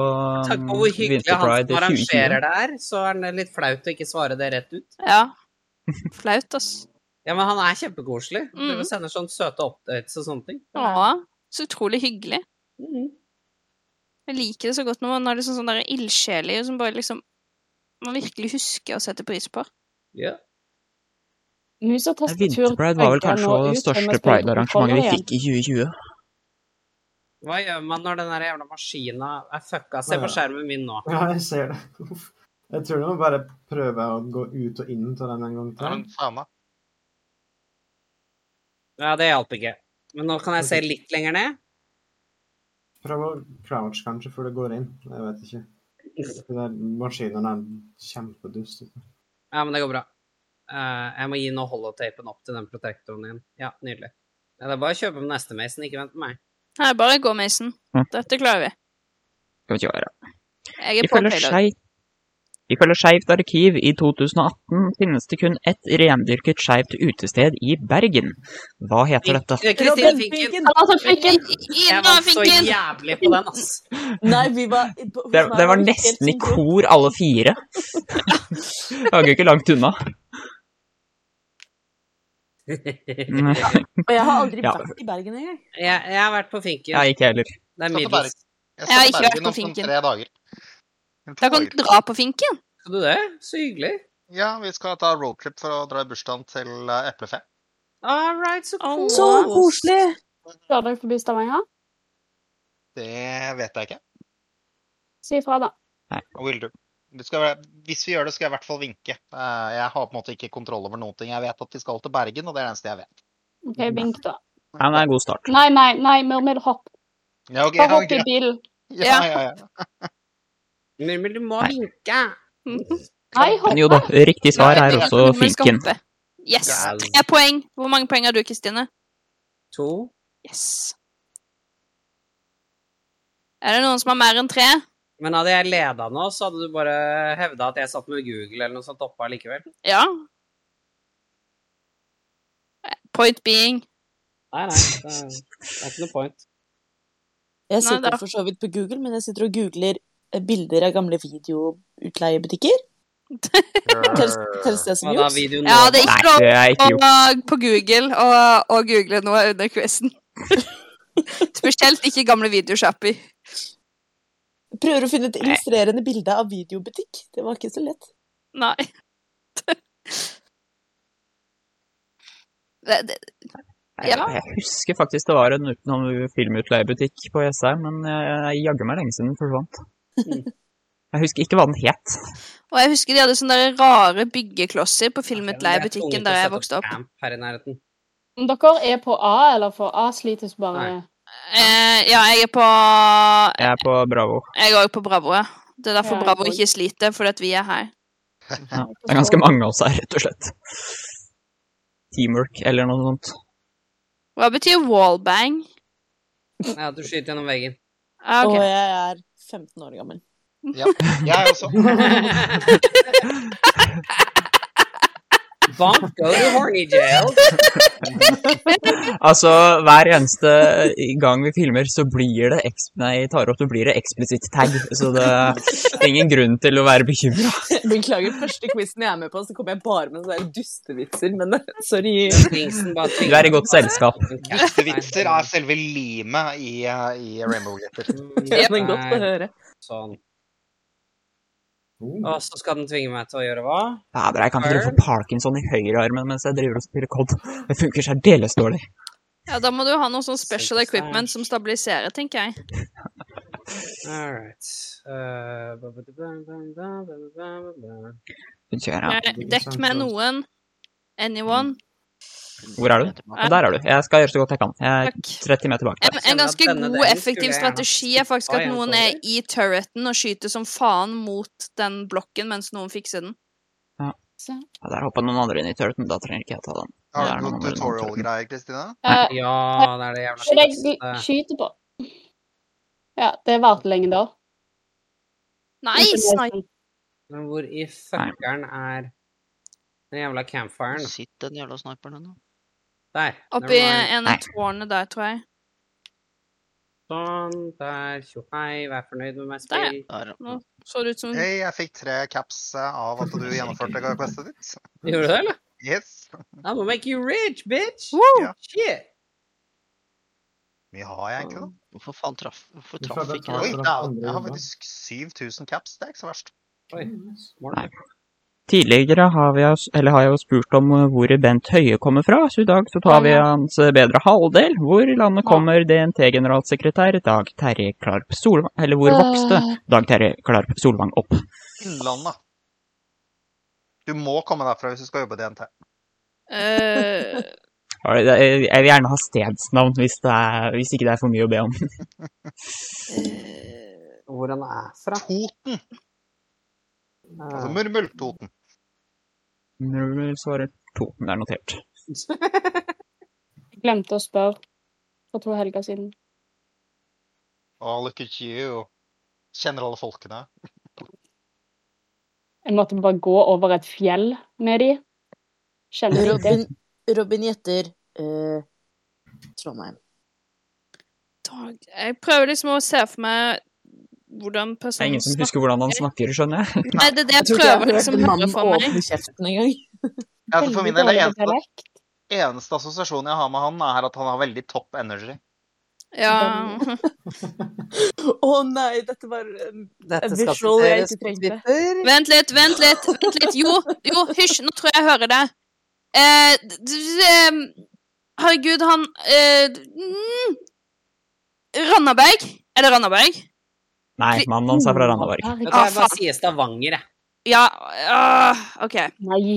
C: Takk
J: um,
C: for hvor hyggelig han som
J: Vinterpride 2020.
C: arrangerer det er, så er det litt flaut å ikke svare det rett ut.
F: Ja. Flaut, ass.
C: Ja, men han er kjempekoselig. Du
F: Mm.
C: sender sånne søte updates og sånne ting.
F: Ja, så utrolig hyggelig.
K: Mm-hmm.
C: Mm.
F: Jeg liker det så godt når man har liksom sånne der ildsjeler som bare liksom man virkelig husker å sette pris på.
C: Ja.
K: Mus og
J: Nei,
K: tastatur
J: Vinterpride var vel
K: begge
J: kanskje
K: nå
J: det
K: ut, men
J: største
K: jeg spiller på
J: pride-arrangementet vi
K: kontroller
J: fikk i 2020.
C: Hva gjør man når den der jævla maskina er fucka? Se på skjermen min nå.
H: Ja, jeg ser det. Uff. Jeg tror du må bare prøve å gå ut og inn til den en gang
G: Ja,
H: til.
G: men faen da.
C: Ja, det hjalp ikke. Men nå kan jeg se litt lenger ned.
H: Prøv å crouch kanskje før du går inn. Jeg vet ikke. De der maskinene er kjempedust.
C: Ja, men det går bra. Eh, jeg må gi nå holotapen opp til den protektoren din. Ja, nydelig. Ja, det er bare å kjøpe med neste Mason, ikke vent på meg.
F: Her, bare gå, Mason.
J: Mm.
F: Dette klarer vi.
J: Skal vi ikke være.
F: Jeg er på
J: Ifølge
F: payload.
J: Skei- Ifølge Skeivt arkiv i 2018 finnes det kun ett rendyrket skeivt utested i Bergen. Hva heter dette?
C: Fink- eh, Kristine Finken!
K: Altså, fikken!
C: Jeg
F: Inna,
C: vant så
F: finken!
C: jævlig på den, ass.
E: Nei, vi var på, hos
J: Det,
E: meg
J: det var
E: helt
J: nesten i
E: synkron.
J: kor, alle fire. Det var jo ikke langt unna. Nei,
E: Og jeg har aldri
J: Ja.
E: vært i Bergen engang.
C: Jeg, jeg har vært på Finken.
J: jeg ikke heller.
C: Det er
G: Skal til
C: middels.
G: Bergen. Jeg
F: Jeg har
G: skal
F: ikke
G: til
F: vært på
G: Bergen om sånn
F: Finken.
G: tre dager. Eller to
F: Da kan
G: dager.
F: du dra på finken.
C: Skal du det? Så hyggelig.
G: Ja, vi skal ta roadtrip for å dra i bursdagen til eh, Eplefest.
C: All right, så
F: Åh.
C: kos.
E: Så koselig!
K: Kjører dere forbi Stavanger?
G: Det vet jeg ikke.
K: Si ifra, da.
G: Og Will du? Det skal være, hvis vi gjør det, skal jeg i hvert fall vinke. Eh, Jeg har på en måte ikke kontroll over noen ting. Jeg vet at vi skal til Bergen, og det er det eneste jeg vet.
K: OK, vink, da.
J: Ja, men det er en god start.
K: Nei, nei, nei, Murmel, hopp.
G: Ja, ok,
K: Bare
G: ja,
K: hopp i
G: greit.
K: bilen.
G: ja, ja, ja.
C: Murmel, du må
J: Nei.
C: vinke.
F: Mm.
K: Nei, hopp.
J: Men jo da, riktig svar er også
F: Nummer skal
J: finken.
F: hoppe. Yes.
C: Gal.
F: Tre poeng. Hvor mange poeng har du, Kristine?
C: To.
F: Yes. Er det noen som har mer enn tre?
C: Men hadde jeg leda nå, så hadde du bare hevda at jeg satt med Google eller noe sånt oppe allikevel.
F: Ja. Point being.
C: Nei, nei. Det er, det er ikke noe point.
E: Jeg
F: Nei,
E: sitter
F: da-
E: for så vidt på Google, men jeg sitter og googler eh, bilder av gamle videoutleiebutikker. Tels, tels det som
C: Hva da,
E: juks?
C: videoen
F: Ja, det er
J: Nei,
F: ikke lov
J: det er ikke gjort.
F: å på Google å å google noe under quizen. Spesielt ikke gamle videoshopper.
E: Prøver å finne et illustrerende bilde av videobutikk. Det var ikke så lett.
F: Nei. Det, det,
J: Jeg, jeg husker faktisk det var en utenom filmutleiebutikk på Jessheim, men jeg jeg jaggu meg lenge siden den forsvant. Jeg husker ikke hva den het.
F: og jeg husker de hadde sånne der rare
C: Jeg er
F: byggeklosser på
J: sånn
F: filmutleiebutikken
C: tvunget til å
F: der jeg
C: sette
F: vokste opp.
C: Camp her i nærheten.
K: Om dere er på A, eller for A slites bare
C: Nei.
F: Eh, ja, jeg er på
J: Jeg er på Bravo.
F: Jeg er òg på Bravo. ja. Det er derfor
K: Ja, jeg
F: Bravo
K: òg.
F: ikke sliter, fordi at vi er her.
J: Ja, det er ganske mange av oss her, rett og slett. Teamwork eller noe sånt.
F: Hva betyr wallbang?
C: Ja, du skyter gjennom veggen.
F: Ah,
E: Og
F: ok.
E: jeg er 15 år gammel.
G: Ja, jeg også.
C: Bonk, go to horny jail.
J: Altså, hver eneste gang vi filmer, så blir det eks- nei, tar opp, så blir det eksplisitt tag. Så det er ingen grunn til å være bekymra.
E: Beklager, første quizen jeg er med på, så kom jeg bare med sånne dustevitser, men eh, sorry.
C: Dingsen bare
J: Du er i godt selskap.
G: Dustevitser er selve limet i, eh, i Rainbow Glitter.
E: Det var godt å høre.
C: Sånn.
H: Oh.
C: Og så skal den tvinge meg til å gjøre hva?
J: Fader, jeg kan ikke drive for parkinson i høyrearmen mens jeg driver og spiller COD. Det funker særdeles dårlig.
F: Ja, da må du ha noe sånn special
C: Sikkert
F: equipment som stabiliserer, tenker jeg.
C: All right. Eh, ba, ba, ba, ba, ba, ba, ba, ba, ba, ba.
J: Hun kjører, ja.
F: Eh, Dekk med noen. Anyone.
J: Hvor er du? Ja, der er du. Jeg skal gjøre så godt jeg kan. Jeg er
F: Takk.
J: 30 meter bak.
F: En, en
C: kjenner at
F: ganske
C: denne
F: god,
C: delen skulle
F: effektiv
C: jeg
F: strategi
C: gjerne
F: er faktisk
C: stoppa
F: at
C: i en
F: noen er i turreten og skyter som faen mot den blokken mens noen fikser den.
J: Ja, der hoppa noen andre inn i turreten. Da trenger ikke jeg ta den.
G: Har du
J: Det er
G: noen
J: noe med
G: tutorial-greier, Kristina?
K: Eh,
C: Ja, det er det jævla
K: Skal jeg
C: beste.
K: skyte på? Ja, det varte lenge da.
F: Nice! nice.
C: Men hvor i fuckeren er den jævla campfiren?
L: Sitt den jævla sniperen ennå.
C: Der.
F: Oppi
C: never mind.
F: en av tårnene der, tror jeg.
C: Sånn, der. Tjo hei, vær fornøyd med meg,
F: Der, ja.
C: spill.
L: Der.
F: Nå så det ut
J: Um,
F: som
G: Hei, jeg fikk tre caps eh, av at du gjennomførte questet ditt.
C: Gjorde du det, eller?
G: Yes.
C: I'm gonna make you rich, bitch!
G: Ja.
C: Shit!
G: Mye har jeg egentlig, da.
L: Hvorfor faen traff Hvorfor
H: Du
L: traff
H: får
L: ikke det?
G: Oi,
H: betalt. for den
G: dæven,
H: andre
G: jeg har
H: jobben.
G: faktisk 7000 caps. Det er ikke så verst.
C: Oi, smart.
J: Nei. Tidligere har, vi, eller har jeg jo spurt om eh, hvor Bent Høie kommer fra, så i dag så tar vi hans eh, bedre halvdel. Hvor i landet kommer DNT-generalsekretær Dag Terje Klarp Solvang Eller hvor vokste Dag Terje Klarp Solvang opp?
G: Innlandet. Du må komme derfra hvis du skal jobbe i DNT.
F: eh,
J: Har det- Jeg jeg vil gjerne ha stedsnavn, hvis, det er, hvis ikke det er for mye å be om.
C: Hvor han er fra?
G: Toten! Altså
C: Eh,
G: Murmultoten.
J: Null svarer to. Det er notert.
K: Jeg glemte å spørre for to helger siden.
G: Oh, look at you. Kjenner alle folkene.
K: Jeg måtte bare gå over et fjell med de. Kjenner de det?
E: Robin, Robin gjetter eh, Trondheim.
F: Dag Jeg prøver liksom å se for meg hvordan
J: Det er
F: personen
J: ingen som husker hvordan han snakker, skjønner jeg.
F: Nei, det er det jeg prøver liksom å høre for meg.
E: åpne kjeften engang.
G: Ja, altså, for min del er
K: Veldig dårlig
G: eneste,
K: dialekt.
G: eneste assosiasjonen jeg har med han, er at han har veldig topp energy.
F: Ja.
E: Å nei, dette var
C: Eh,
E: um,
C: Dette
E: En
C: skal
E: visual jeg
C: siteres
E: ikke
C: på
E: trengte.
C: Twitter.
F: Vent litt, vent litt. vent litt. Jo, jo, hysj, nå tror jeg jeg hører det. Eh, d- d- em, herregud, han eh, mm, Randaberg? Er det Randaberg?
J: Nei, mannen hans er fra Randaberg.
C: Vet du,
F: Ah,
C: jeg bare
F: faen.
C: sier Stavanger, jeg.
F: Ja ah, OK.
K: Nei.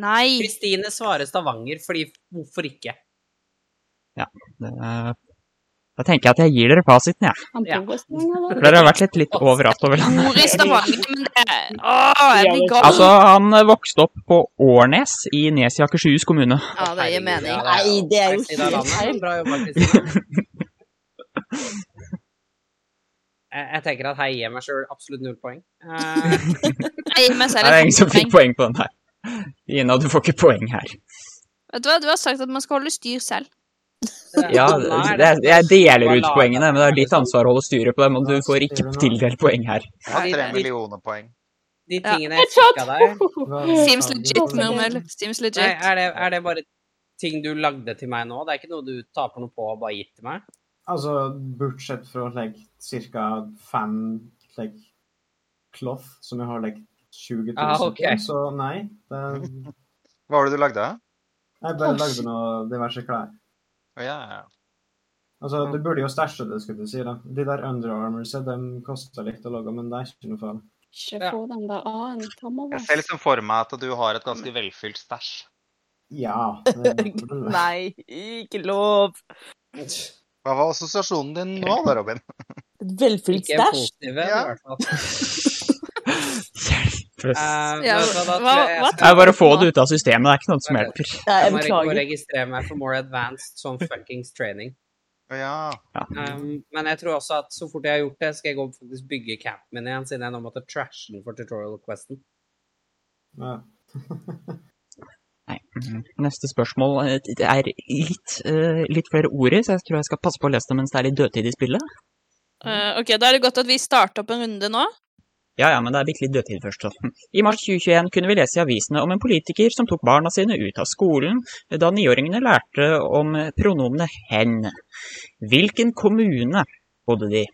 F: Nei.
C: Kristine svarer Stavanger, fordi hvorfor ikke?
J: Det- Da tenker jeg at jeg gir dere fasiten, jeg.
K: Han
C: Ja.
K: bor i Stavanger,
J: For
K: eller?
J: Dere har vært litt, litt overrasket over landet.
F: Bor i Stavanger, men det er Åh, jeg blir gal.
J: Altså, han eh, vokste opp på Årnes i Nes i Akershus kommune.
F: Ja, det gir mening.
E: Nei, det er jo helt feil.
C: feil. Jeg tenker at hei, gir jeg meg sjøl absolutt null poeng. Eh,
F: Jeg gir meg
J: Det
F: selv
J: er
F: et
J: ingen som fikk
F: poeng.
J: poeng på den her. Ina, du får ikke poeng her.
F: Vet du hva, du har sagt at man skal holde styr selv.
J: Ja,
C: Nei,
J: det,
C: det-
J: jeg deler
C: bare
J: ut
C: lage
J: poengene, men det er
C: det,
J: ditt
C: liksom.
J: ansvar å holde styret på dem, og du
H: Ja,
J: får ikke
H: styrer nå.
J: tildelt poeng her.
G: Jeg har
C: Nei,
G: tre
C: det-
G: millioner poeng.
C: De
F: Ja.
C: tingene jeg sjekka der
F: Seems legit, murmel. Seems
C: nei,
F: legit.
C: er, det, er det bare ting du lagde til meg nå? Det er ikke noe du taper noe på og bare gitt til meg?
H: Altså, bortsett fra like, ca. fem like, cloth, som jeg har like, 20 000
C: Ah, ok.
H: på, så nei. Det,
G: Hva var det du lagde?
H: jeg bare lagde noe diverse klær.
G: Å, ja, ja.
H: Altså, Du burde jo stæsje det, skulle du si. da. De der underarmorsa de koster litt å lage, men det er ikke noe farlig.
K: Ikke
C: Ja.
K: få den der A-en. Ta med
G: Jeg
K: oss.
G: ser liksom for meg at du har et ganske velfylt stæsj.
H: Ja. det-
E: Nei, ikke lov.
G: Hva var assosiasjonen din nå da, Robin?
E: Et velfylt
C: Ikke en
E: stæsj.
C: positiv en, i
G: Ja.
C: hvert fall.
J: Hjelpes.
C: Eh,
F: Ja,
C: vet du hva, da
F: hva-
C: tror jeg jeg
F: hva
C: skal-
J: Nei, bare få det ut av systemet. Det er ikke noe som
C: Ok.
J: hjelper.
E: Ja,
C: Jeg
E: jeg
C: må reg- må
E: beklager.
C: registrere meg for more advanced sånn fuckings training.
G: Ja.
C: Um, men jeg tror også at så fort jeg har gjort det, skal jeg gå og faktisk bygge campen min igjen, siden jeg nå måtte trashe den for tutorial questen.
H: Ja.
J: Nei. Mm-hmm. Neste spørsmål eh, det er litt, eh, litt flere ord i, så jeg tror jeg skal passe på å lese det mens det er litt dødtid i spillet.
F: Eh, ok, Da er det godt at vi starter opp en runde nå.
J: Ja, ja, men det er bitte litt dødtid først. Så. I mars 2021 kunne vi lese i avisene om en politiker som tok barna sine ut av skolen da niåringene lærte om pronomenet hen. Hvilken kommune bodde de?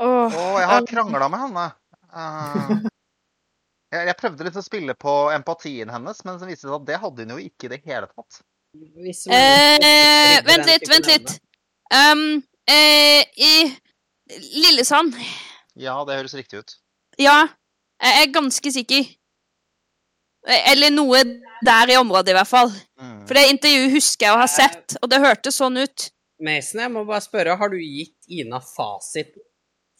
G: Å, jeg har krangla med henne. Eh, jeg, jeg prøvde litt å spille på empatien hennes, men så viste det seg at det hadde hun jo ikke i det hele tatt.
C: Hvis man-
F: Eh,
C: Trigger den
F: vent litt,
C: typen
F: vent
C: evne.
F: litt. Um, eh, I Lillesand.
G: Ja, det høres riktig ut.
F: Ja, jeg er ganske sikker. Eh, Eller noe der i området, i hvert fall.
G: Mm.
F: For det intervjuet husker jeg å ha sett, og det hørtes sånn ut.
C: Mason, jeg må bare spørre, har du gitt Ina fasiten?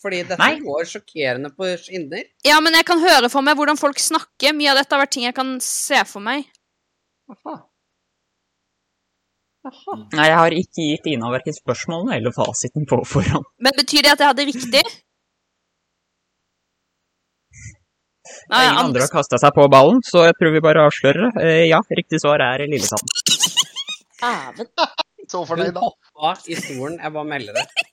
C: Fordi dette
J: Nei.
C: går sjokkerende på skinner.
F: Ja, men jeg kan høre for meg hvordan folk snakker. Mye av dette har vært ting jeg kan se for meg.
C: Aha. Aha.
J: Nei, jeg har ikke gitt Ina verken spørsmålene eller fasiten på forhånd.
F: Men betyr det at jeg hadde riktig? Nei,
J: Ingen andre
F: Anders
J: har kasta seg på ballen, så jeg tror vi bare avslører det. Eh, ja, riktig svar er Lillesand.
E: Æven.
G: Så
C: Hun
G: fornøyd, da.
C: hoppa i stolen, jeg bare melder det.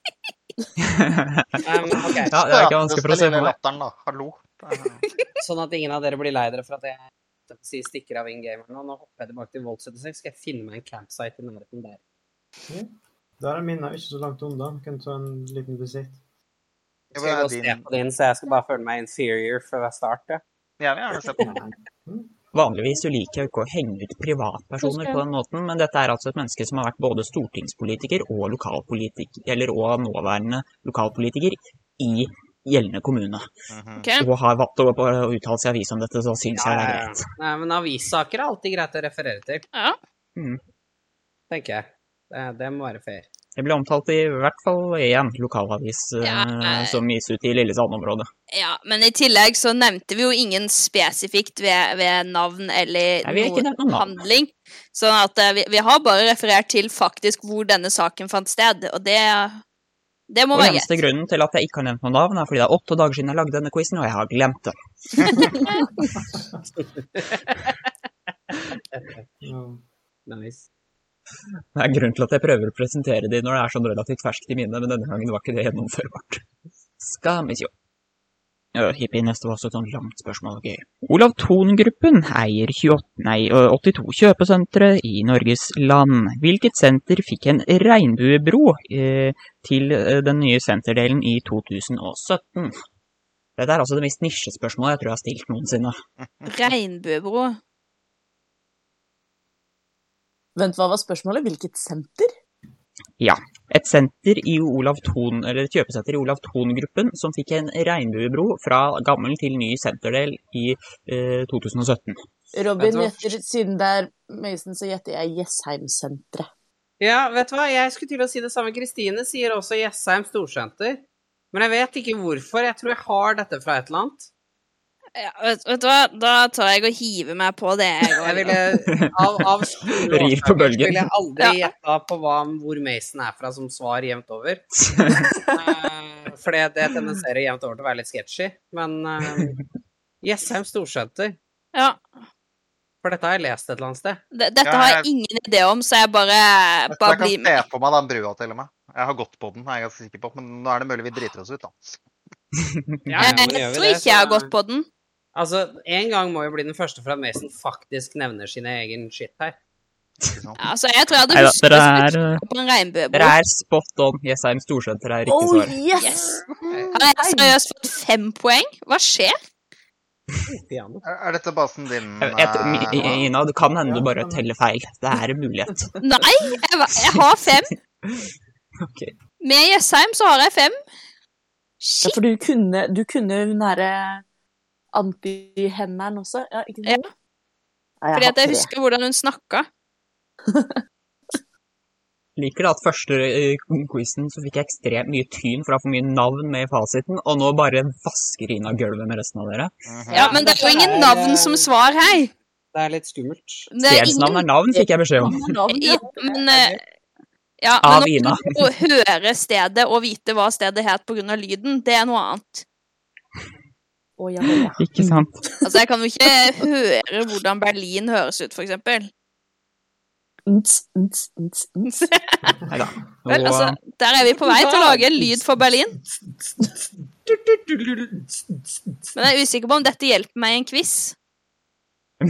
C: Um, ok,
J: Ja, det er ikke vanskelig for å se for
G: for
J: meg.
G: Latteren, da. Hallo. Eh,
C: Sånn at ingen av dere blir lei dere for at jeg jeg vil si, stikker av in game. eller noe. Nå hopper jeg tilbake til Volt 76, skal jeg finne meg en campsite i nærheten der.
H: Der er minna ikke så langt unna. Kan ta en liten visitt.
G: Jeg
C: Jeg
G: vil
C: skal
G: ha
C: gå og se
G: din-
C: på din, så jeg skal bare føle meg inferior før jeg starter.
G: Jeg vil gjerne se på den.
H: Nei.
J: Vanligvis så liker jeg jo ikke å henge ut privatpersoner på den måten, men dette er altså et menneske som har vært både stortingspolitiker og lokalpolitiker, eller og nåværende lokalpolitiker i gjeldende kommune.
G: Mhm.
F: Ok.
J: Og har valgt å å uttale seg i avis om dette, så syns jeg det er greit.
C: Nei, men avissaker er alltid greit å referere til,
F: Ja.
C: tenker jeg. Det, det må være fair.
J: Det ble omtalt i hvert fall én lokalavis eh,
F: Ja.
J: som gis ut i Lillesand-området.
F: ja, men i tillegg så nevnte vi jo ingen spesifikt ved, ved navn eller
J: Nei, vi har ikke nevnt noen
F: noe
J: navn.
F: handling. Sånn at eh, vi, vi har bare referert til faktisk hvor denne saken fant sted, og det, det må
J: Og
F: være
J: eneste grunnen til at jeg ikke har nevnt noe navn, er fordi det er åtte dager siden jeg lagde denne quizen, og jeg har glemt det.
H: Ja.
C: Nice.
J: Det er grunnen til at jeg prøver å presentere de når det er sånn relativt ferskt i minnet, men denne gangen var ikke det gjennomførbart. Skal vi sjå. Ja, Hippie, neste var også et sånt langt spørsmål. Gøy. Olav Thon-gruppen eier 28, nei, ø, 82 kjøpesentre i Norges land. Hvilket senter fikk en regnbuebro eh, til eh, den nye senterdelen i 2017? Dette er altså det mest nisjespørsmålet jeg tror jeg har stilt noensinne.
F: greit. Regnbuebro.
E: Vent, hva var spørsmålet? Hvilket senter?
J: et senter i Olav Thon, eller et kjøpesenter i Olav Thon-gruppen som fikk en regnbuebro fra gammel til ny senterdel i eh, 2017.
C: Vet du
E: Robin
C: hva?
E: gjetter, siden det er Mason, så gjetter jeg Jessheimsenteret.
C: Ja, vet du hva, jeg skulle til å si det samme. Kristine sier også Jessheim Storsenter. Men jeg vet ikke hvorfor. Jeg tror jeg har dette fra et eller annet.
F: Ja, vet, vet du hva, da tar jeg og hiver meg på det. Jeg
C: Jeg
F: går.
C: ville, av, av skumle
J: Rir på
C: årsaker så
J: bølgen.
C: ville jeg aldri
F: Ja.
C: gjetta på hva, hvor Mason er fra som svar jevnt over. Eh, For det, det tendenserer jevnt over til å være litt sketchy. Men eh, Jessheim Storsenter
F: Ja,
C: For dette har jeg lest et eller annet sted.
F: det, dette
G: Ja,
F: har
G: jeg-
F: jeg ingen idé om, så jeg bare,
G: Jeg tror
F: bare
G: jeg
F: blir
G: kan
F: med.
G: se på meg den brua, til og med. Jeg har gått på den, er jeg ganske sikker på. Men nå er det mulig vi driter oss ut, da.
C: Ja, ja,
F: Jeg,
C: men gjør vi
F: tror
C: det,
F: ikke jeg har
C: så-
F: gått på den.
C: Altså, en gang må jo bli den første for at Mason faktisk nevner sin egen shit her.
G: Ikke sant?
F: Altså, jeg tror jeg hadde
J: Neida, dere
F: husket hvis jeg
J: er,
F: trykket på en regnbuebro.
J: Dere er spot on. Jessheim Storsenter er riktig
E: Oh,
J: svar.
E: yes!
F: Yes.
E: Mhm,
F: Har jeg
E: Hei!
F: seriøst fått fem poeng? Hva skjer?
C: Piano.
G: Er, er dette basen din?
J: Jeg vet, Mi-
G: eh, Noah?
J: Ina, det kan hende du
H: Ja,
J: bare
H: kan hende.
J: teller feil. Det er en mulighet.
F: Nei, jeg, va- jeg har fem.
J: Ok.
F: Med Jessheim så har jeg fem.
E: Ja,
F: Shit.
E: for du kunne, du kunne hun derre antihemmeren også? Ja, ikke
F: Ja.
E: sant? Ja, jeg
F: Fordi
E: har
F: at jeg
E: tre.
F: husker hvordan hun snakka.
J: Liker det at første eh, quizen så fikk jeg ekstremt mye tyn for å ha for mye navn med i fasiten, og nå bare vasker Ina gulvet med resten av dere.
F: Ja, men det er eh, jo ingen navn som svar her.
C: Det er litt skummelt.
F: Det er
J: Stedsnavn er navn, fikk jeg beskjed om.
F: Ja, men eh, ja,
J: Av
F: men
J: Ina.
F: å å høre stedet og vite hva stedet het pga. lyden, det er noe annet.
J: Ikke sant?
F: Altså, jeg kan jo ikke høre hvordan Berlin høres ut, for eksempel.
J: Nei da.
F: Vel, altså,
C: um,
F: der er vi på vei til å lage en lyd for Berlin. Men jeg er usikker på om dette hjelper meg i en quiz.
J: ja,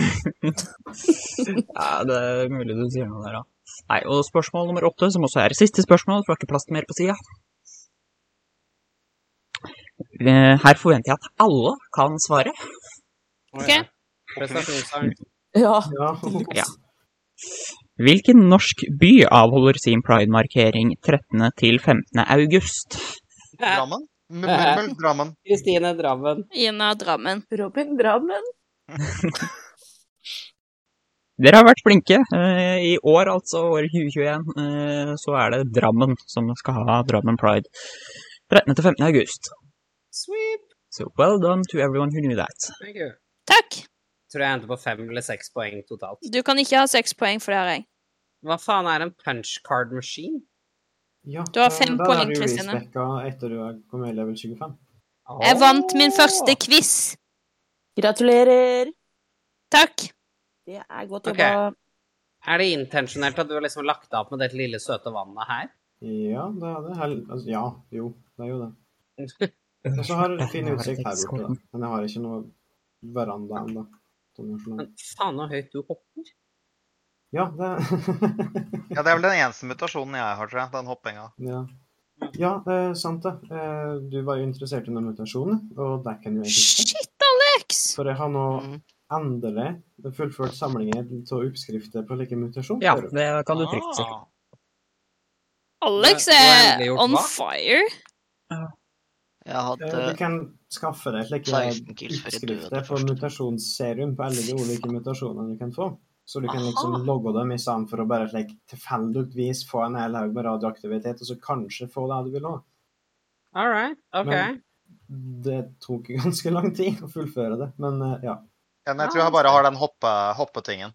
J: det er mulig du sier noe der, da. Nei, og spørsmål nummer åtte, som også er siste spørsmål, for det er ikke plass til mer på sida. Eh, Her forventer jeg at alle kan svare.
C: Ok. Prestasjonsangst.
E: Ja.
J: Ja. Hvilken norsk by avholder sin pridemarkering 13. til 15. august?
L: Drammen? M- Mørbel? Drammen?
C: Kristine Drammen.
F: Ina Drammen.
E: Robin Drammen.
J: Dere har vært flinke. Eh, I år, altså, år 2021, eh, så er det Drammen som skal ha Drammen Pride. 13. til 15. august.
C: Sweep.
J: So well done to everyone who knew that.
C: Thank you.
F: Takk!
C: Tror jeg endte på fem eller seks poeng totalt.
F: Du kan ikke ha seks poeng for det her, jeg.
C: Hva faen er en punch card machine?
H: Ja,
F: Du har fem
H: eh, der
F: poeng,
H: er du
F: Kristine.
H: respekka etter du har kommet i level 25.
F: Jeg vant min første quiz.
E: Gratulerer.
F: Takk.
E: Det er godt
C: Ok.
E: jobba.
C: Er det intensjonelt at du har liksom lagt deg opp med dette lille søte vannet her?
H: Ja, det er det. Hel- Altså, ja, jo, det er jo det. Og så har du fin utsikt her borte, da. Men jeg har ikke noe veranda ennå.
C: Men faen så høyt du hopper.
H: Ja, det
G: Ja, det er vel den eneste mutasjonen jeg har, tror jeg. Den hoppinga.
H: ja. ja, det er sant det. Eh, Du var jo interessert i noen mutasjoner, og det kan jo jeg huske.
F: Shit, Alex!
H: For jeg har nå endelig fullført samlinger av oppskrifter på like mutasjon.
J: Ja, det kan du trygt si.
G: Ah,
F: Alex
C: Hva- hva er
F: er
C: endelig gjort
F: on
C: hva?
F: fire.
L: Jeg
H: Eh, Du
L: hadde
H: kan skaffe deg slike
L: 16 kills for et døde
H: utskrifter på
L: først.
H: mutasjonsserum på alle de ulike mutasjonene du kan få. Så du kan
L: Aha.
H: liksom logge dem i sammen for å bare slik tilfeldigvis få en hel haug med radioaktivitet, og så kanskje få det du vil ha.
C: All right, OK.
H: Men- Det tok ganske lang tid å fullføre det, men eh, ja.
G: Men jeg tror jeg bare har den hoppe, hoppetingen.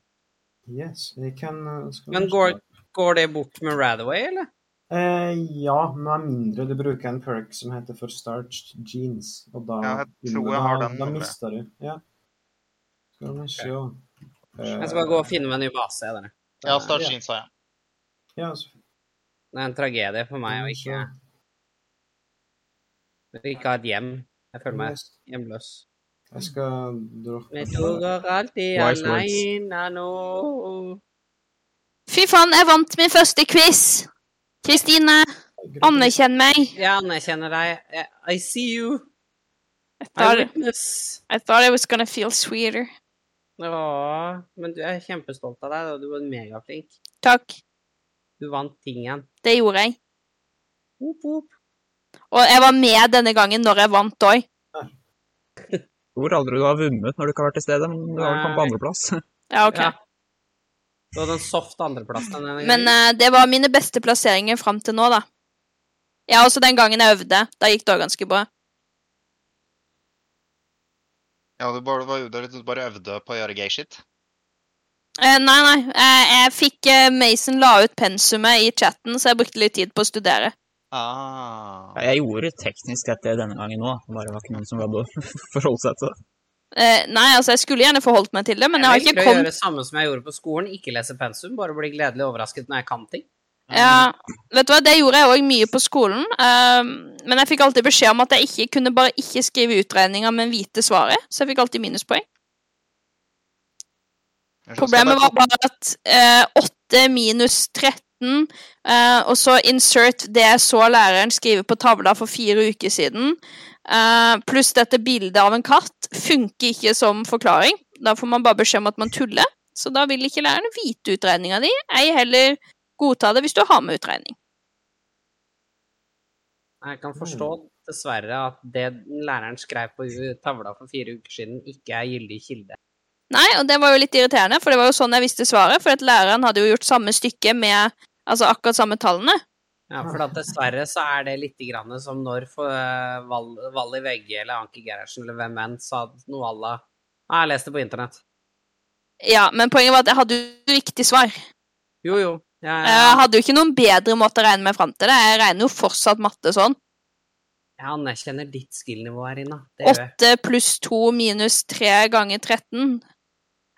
H: Yes, jeg kan eh, skal
C: Men
H: vi
C: går,
H: se.
C: går det bort med Radaway, eller?
H: Eh, ja, med mindre du bruker en perk som heter for starched jeans, og da,
G: Ja, jeg tror jeg
H: da,
G: har den,
H: da
G: tror jeg.
H: mister du. Ja. Skal vi se.
C: Jeg
H: Eh,
C: skal bare gå og finne meg en ny base. jeg, dere.
G: Ja, Start Jeans har jeg.
H: ja, så
C: Det er en tragedie for meg å ikke, å ikke ha et hjem. Jeg føler meg hjemløs.
H: Jeg skal droppe
C: Men du går alltid
J: Wise words.
C: aleine nå.
F: Fy faen, jeg vant min første quiz! Kristine, anerkjenn meg.
C: Jeg anerkjenner deg. Jeg- I see you.
F: I
C: I
F: thought,
C: witness.
F: I thought I was gonna feel sweeter.
C: Ja, men du jeg er kjempestolt av deg, og du var megaflink.
F: Takk.
C: Du vant tingen.
F: Det gjorde jeg.
C: Whoop, whoop.
F: Og jeg var med denne gangen når jeg vant òg.
J: Tror aldri du har vunnet når du ikke har vært til stede, men du har vel kommet på andreplass.
F: Ja, ok.
C: Ja. Du hadde en soft andreplass den ene
F: Men
C: gangen.
F: eh, det var mine beste plasseringer fram til nå, da. Ja, også den gangen jeg øvde. Da gikk det òg ganske bra.
G: Ja, du bare, var ute litt, du bare øvde på å gjøre gay shit.
F: Eh, nei, nei. eh, jeg fikk eh, Mason la ut pensumet i chatten, så jeg brukte litt tid på å studere.
G: Ah.
J: Ja, Jeg gjorde teknisk dette denne gangen òg, bare det var ikke noen som gadd å forholde seg til det.
F: Eh, nei, altså, jeg skulle gjerne forholdt meg til det, men jeg har
C: velger
F: ikke
C: å
F: kommet
C: gjøre det samme som jeg gjorde på skolen, ikke lese pensum, bare bli gledelig overrasket når jeg kan ting.
F: Ja, vet du hva, det gjorde jeg òg mye på skolen. ehm, men jeg fikk alltid beskjed om at jeg ikke kunne bare ikke skrive utregninger, men vite svaret. Så jeg fikk alltid minuspoeng. Problemet var bare at eh, 8 minus 13, eh, og så insert det jeg så læreren skrive på tavla for fire uker siden, eh, pluss dette bildet av en katt, funker ikke som forklaring. Da får man bare beskjed om at man tuller. Så da vil ikke lærerne vite utregninga di, ei heller godta det hvis du har med utregning.
C: Jeg kan forstå
F: Mm.
C: dessverre at det læreren skrev på tavla for fire uker siden, ikke er gyldig kilde.
F: Nei, og det var jo litt irriterende, for det var jo sånn jeg visste svaret. For at læreren hadde jo gjort samme stykke med Altså akkurat samme tallene?
C: Ja, for at dessverre så er det litt grann som når for, eh, Val- Valli Vegge eller Anki Gerhardsen eller hvem enn sa noe à la Ja, jeg leste på internett.
F: Ja, men poenget var at jeg hadde jo riktig svar.
C: Jo, jo. Ja, ja,
F: Jeg Eh, hadde jo ikke noen bedre måte å regne meg fram til det. Jeg regner jo fortsatt matte sånn.
C: jeg anerkjenner ditt skill-nivå her inne. Det gjør jeg.
F: 8 pluss 2 minus 3 ganger 13.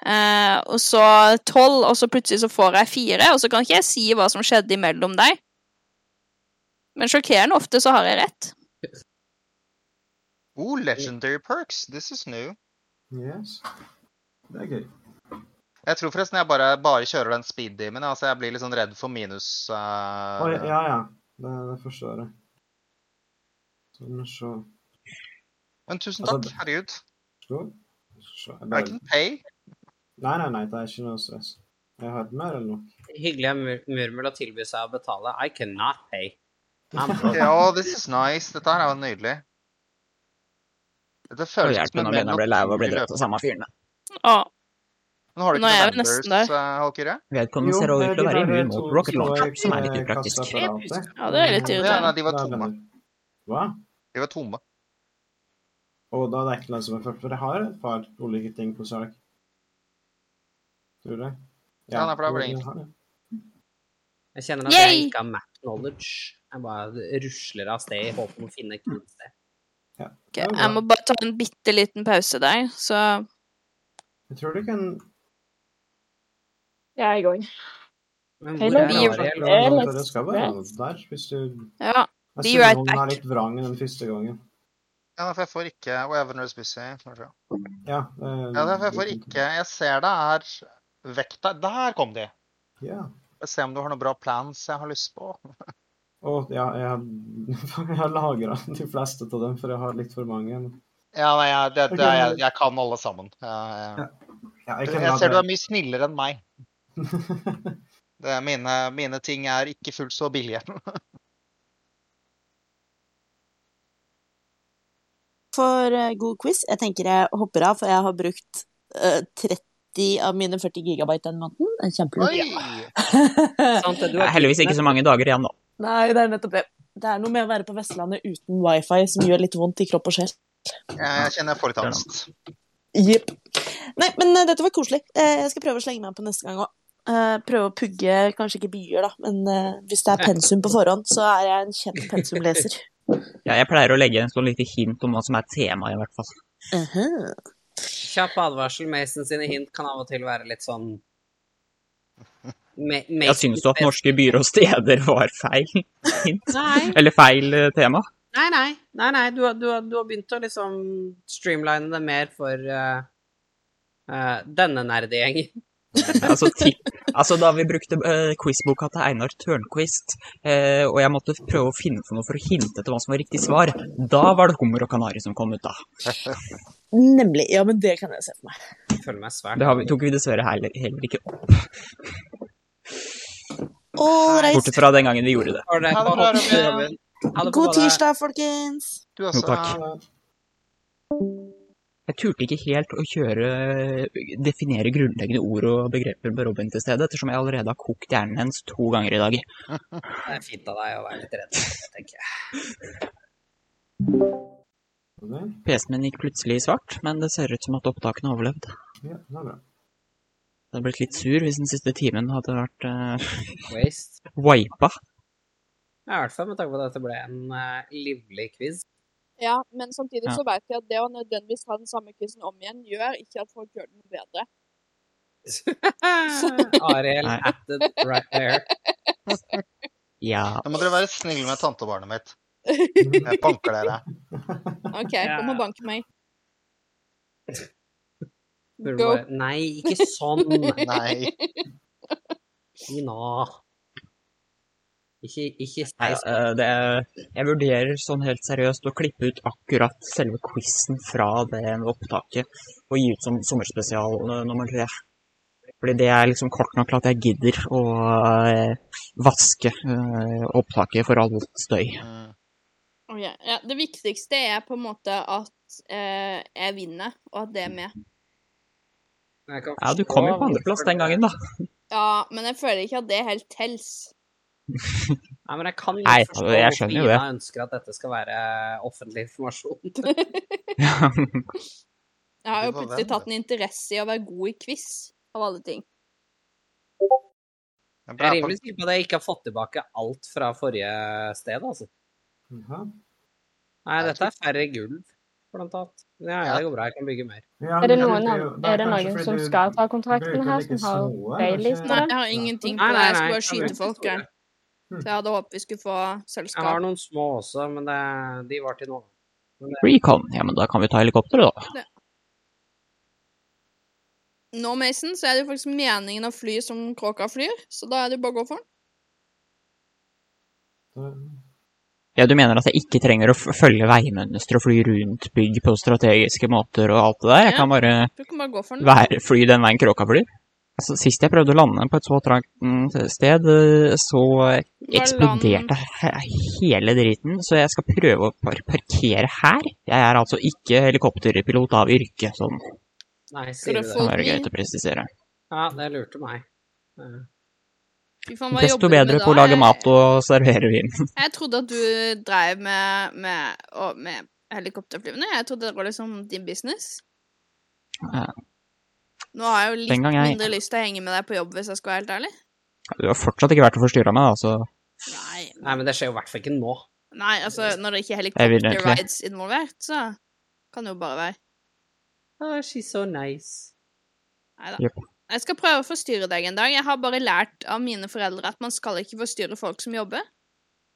F: Eh, og så 12, og så plutselig så får jeg 4, og så kan ikke jeg si hva som skjedde imellom deg. Men sjokkerende ofte så har jeg rett.
G: Ooh, legendary perks. This is new.
H: Yes. Det er gøy.
G: Jeg tror forresten jeg bare, bare kjører den speed-demon. Altså, jeg blir litt sånn redd for minus eh,
H: Å, ja, ja. Det, det forstår jeg. Sånn, så.
G: Men tusen
H: Altså,
G: takk. Herregud.
H: så. så. Jeg
G: I
H: bare...
G: can pay.
H: Nei, nei, nei, det er ikke noe stress. Jeg har mer enn nok.
C: Hyggelig av Mur- Murmel å tilby seg å betale. I cannot pay. I'm broke.
G: Ja, this is nice. Dette her er jo nydelig. Dette
J: Og
G: føles
J: hjelpen
G: en
J: å
G: mer
J: begynne å bli lei av å bli
G: naturlig
J: drept av samme fyren.
F: Å,
G: Men har du
F: Nå
G: ikke noe
F: er jeg nesten
G: Vanders, eh, Valkyrie?
J: Vedkommende Sånn, ser også ut til å være immun mot rocket launcher, som er litt upraktisk.
H: upraktisk.
F: ja, det er
G: Ja,
F: litt
G: nei,
F: irriterende.
G: de var tomme.
H: Hva?
G: De var tomme.
H: Og da er det ikke noe som er først, for jeg har et par ulike ting på sak. Tror jeg.
G: Ja, nei, for da blir det
H: jeg
G: ingenting.
H: har det.
C: Jeg kjenner at jeg
F: Yay!
C: ikke har Mac knowledge. Jeg bare rusler av sted i håp om å finne et kult sted.
F: Ok, jeg må bare ta en bitte liten pause der, så
H: Jeg tror du kan
M: Ja, jeg òg.
C: Men
M: Hei,
C: hvor er
F: Lovie.
C: Ariel?
M: Eller-
H: Det skal være noe der, hvis du
F: ja.
H: Jeg
F: Be
H: synes
F: right
H: hun
F: back.
H: er litt vrang den første gangen.
G: Ja, for jeg får ikke Wavener's Busy. kanskje.
H: Ja, eh,
G: Ja, for jeg får ikke Jeg ser det er vekta Der kom de!
H: Ja.
G: Jeg ser om du har noen bra plans jeg har lyst på.
H: Og ja, jeg har, jeg har lagra de fleste av dem, for jeg har litt for mange.
G: Ja, nei, jeg, det,
H: Ok,
G: det, jeg,
H: men-
G: jeg kan alle sammen. Jeg,
H: Ja,
G: jeg,
H: jeg kan
G: jeg ser du
H: la
G: er mye snillere enn meg.
H: det.
G: Det, er mine, mine ting er ikke fullt så billige.
E: For eh, god quiz. Jeg tenker jeg hopper av, for jeg har brukt eh, 30 av mine 40 gigabyte den måneden. Det er Kjempelurt.
G: Oi!
C: Sant det, du
J: Det
C: har
J: er heldigvis ikke så mange dager igjen, da.
E: Nei, det er nettopp det. Det er noe med å være på Vestlandet uten wifi som gjør litt vondt i kropp og sjel.
G: Jeg, jeg kjenner jeg får litt angst.
E: Jepp. Nei, men eh, dette var koselig. Eh, jeg skal prøve å slenge meg på neste gang òg. prøve å pugge, kanskje ikke byer, da, men eh, hvis det er pensum på forhånd, så er jeg en kjent pensumleser.
J: Ja, jeg pleier å legge en sånn lite hint om hva som er temaet, i hvert fall.
E: Aha.
C: Kjapp advarsel. Mason sine hint kan av og til være litt sånn Ma
J: Jeg syns jo at norske byer og steder var feil hint.
C: Nei,
J: Eller feil eh, tema.
C: nei, nei. nei, nei. Du, har- du, har- du har begynt å liksom streamline det mer for eh, eh, denne nerdegjengen.
J: Altså, ti- altså da vi brukte eh, quizboka til Einar Tørnquist, eh, og jeg måtte prøve å finne på noe for å hinte til hva som var riktig svar, da var det hummer og kanari som kom ut, da.
E: Nemlig. Ja, men det kan jeg se for meg.
C: Jeg føler meg svært
J: Det har vi, tok vi dessverre heller, heller ikke opp,
E: All right.
J: bortsett fra den gangen vi gjorde det.
C: Har dere
G: Ha det bra,
C: fått-
G: Robin.
C: Ha det på
E: God
C: badet.
E: tirsdag, folkens.
G: Du også.
J: takk. Jeg turte ikke helt å kjøre definere grunnleggende ord og begreper med Robin til stede, ettersom jeg allerede har kokt hjernen hennes to ganger i dag.
C: Det er fint av deg å være litt redd, tenker jeg.
J: PC-en min gikk plutselig i svart, men det ser ut som at opptakene overlevde.
H: Ja, det er bra.
J: Jeg hadde blitt litt sur hvis den siste timen hadde vært uh,
C: Waste.
J: wipa.
C: Ja, I hvert fall med tanke på at dette ble en eh, livlig quiz.
F: Ja, men samtidig
J: Ja.
F: så vet jeg at det å nødvendigvis ha den samme quizen om igjen, gjør ikke at folk gjør den bedre.
C: Ariel
J: Nei.
C: at the right there.
J: Ja.
G: Nå må dere være snille med tantebarnet mitt. Jeg banker dere.
F: OK,
C: Ja.
F: kom og bank meg.
C: Burde
F: Go.
C: bare- Nei, ikke sånn!
G: Nei.
C: Ina. Ikke, ikke
J: Nei,
C: si sånn.
J: eh, det, jeg vurderer sånn helt seriøst å klippe ut akkurat selve quizen fra det opptaket og gi ut som sommerspesial eh, nummer tre. Fordi det er liksom kort nok til at jeg gidder å eh, vaske eh, opptaket for all støy.
G: Mm.
F: Ok, Ja, det viktigste er på en måte at eh, jeg vinner, og at det er med.
C: Jeg kan
J: Ja, du
C: forstå
J: kom jo på andreplass
C: hvorfor
J: den
C: det-
J: gangen, da.
F: Ja, men jeg føler ikke at det helt tels.
C: Nei, men jeg kan litt
N: Nei,
C: forstå
N: jeg
C: hvorfor
N: skjønner jo det.
C: Ina ønsker at dette skal være eh, offentlig informasjon.
F: Jeg har jo
C: Du får
F: plutselig
C: vente.
F: tatt en interesse i å være god i quiz, av alle ting.
C: Jeg er rimelig sikker på at jeg ikke har fått tilbake alt fra forrige sted, altså. Nei, dette er færre gulv, blant annet. Men ja, ja, det går bra, jeg kan bygge mer.
H: Er det noen, an- er det noen som skal ta kontrakten her, som har veiliste?
F: Nei, jeg har ingenting på
C: Nei,
F: det.
C: nei,
F: Jeg
C: nei,
F: skal bare
C: jeg vet
F: skyte
C: ikke
F: folk.
C: store.
F: jeg. Så jeg hadde håpet vi skulle få
C: Hmm. Jeg har
F: selskap.
C: noen små også, men det, de var til nå. Men det,
J: Recon. Ja, men da kan vi ta helikopteret, da.
F: Det- Nå, Mason, så er det jo faktisk meningen å fly som kråka flyr, så da er det jo bare å gå for den.
H: eh,
J: Ja, du mener at jeg ikke trenger å f- følge veimønstre og fly rundt bygg på strategiske måter og alt det der? Jeg kan bare
F: Du kan bare gå for den.
J: være, fly den veien kråka flyr? Altså, sist jeg prøvde å lande på et så trangt mm, sted, eh, så eksploderte he- hele driten, så jeg skal prøve å par parkere her. Jeg er altså ikke helikopterpilot av yrke, sånn.
C: nei, sier
F: Skal du
J: Det
C: du det?
J: kan være greit å presisere.
C: Ja, det lurte meg. Ja.
F: Fy faen, hva
J: Desto
F: jobber du med
J: bedre
F: da?
J: på å lage
F: Jeg-
J: mat og servere vin.
F: Jeg trodde at du drev med, med, og- med helikopterflyvende. Jeg trodde det var liksom din business.
J: Ja.
F: Nå har jeg jo litt
J: Den gang jeg-
F: mindre lyst til å henge med deg på jobb, hvis jeg skal være helt ærlig.
J: Du har fortsatt ikke vært og forstyrra meg, altså.
F: Nei,
C: Nei, men det skjer jo i hvert fall ikke nå.
F: nei altså, når det ikke er
J: Jeg vil egentlig-
F: helikopterrides involvert, så kan det jo bare være. Ah,
C: Oh, she's so nice.
F: Nei da.
J: Jep.
F: Jeg skal prøve å forstyrre deg en dag. Jeg har bare lært av mine foreldre at man skal ikke forstyrre folk som jobber.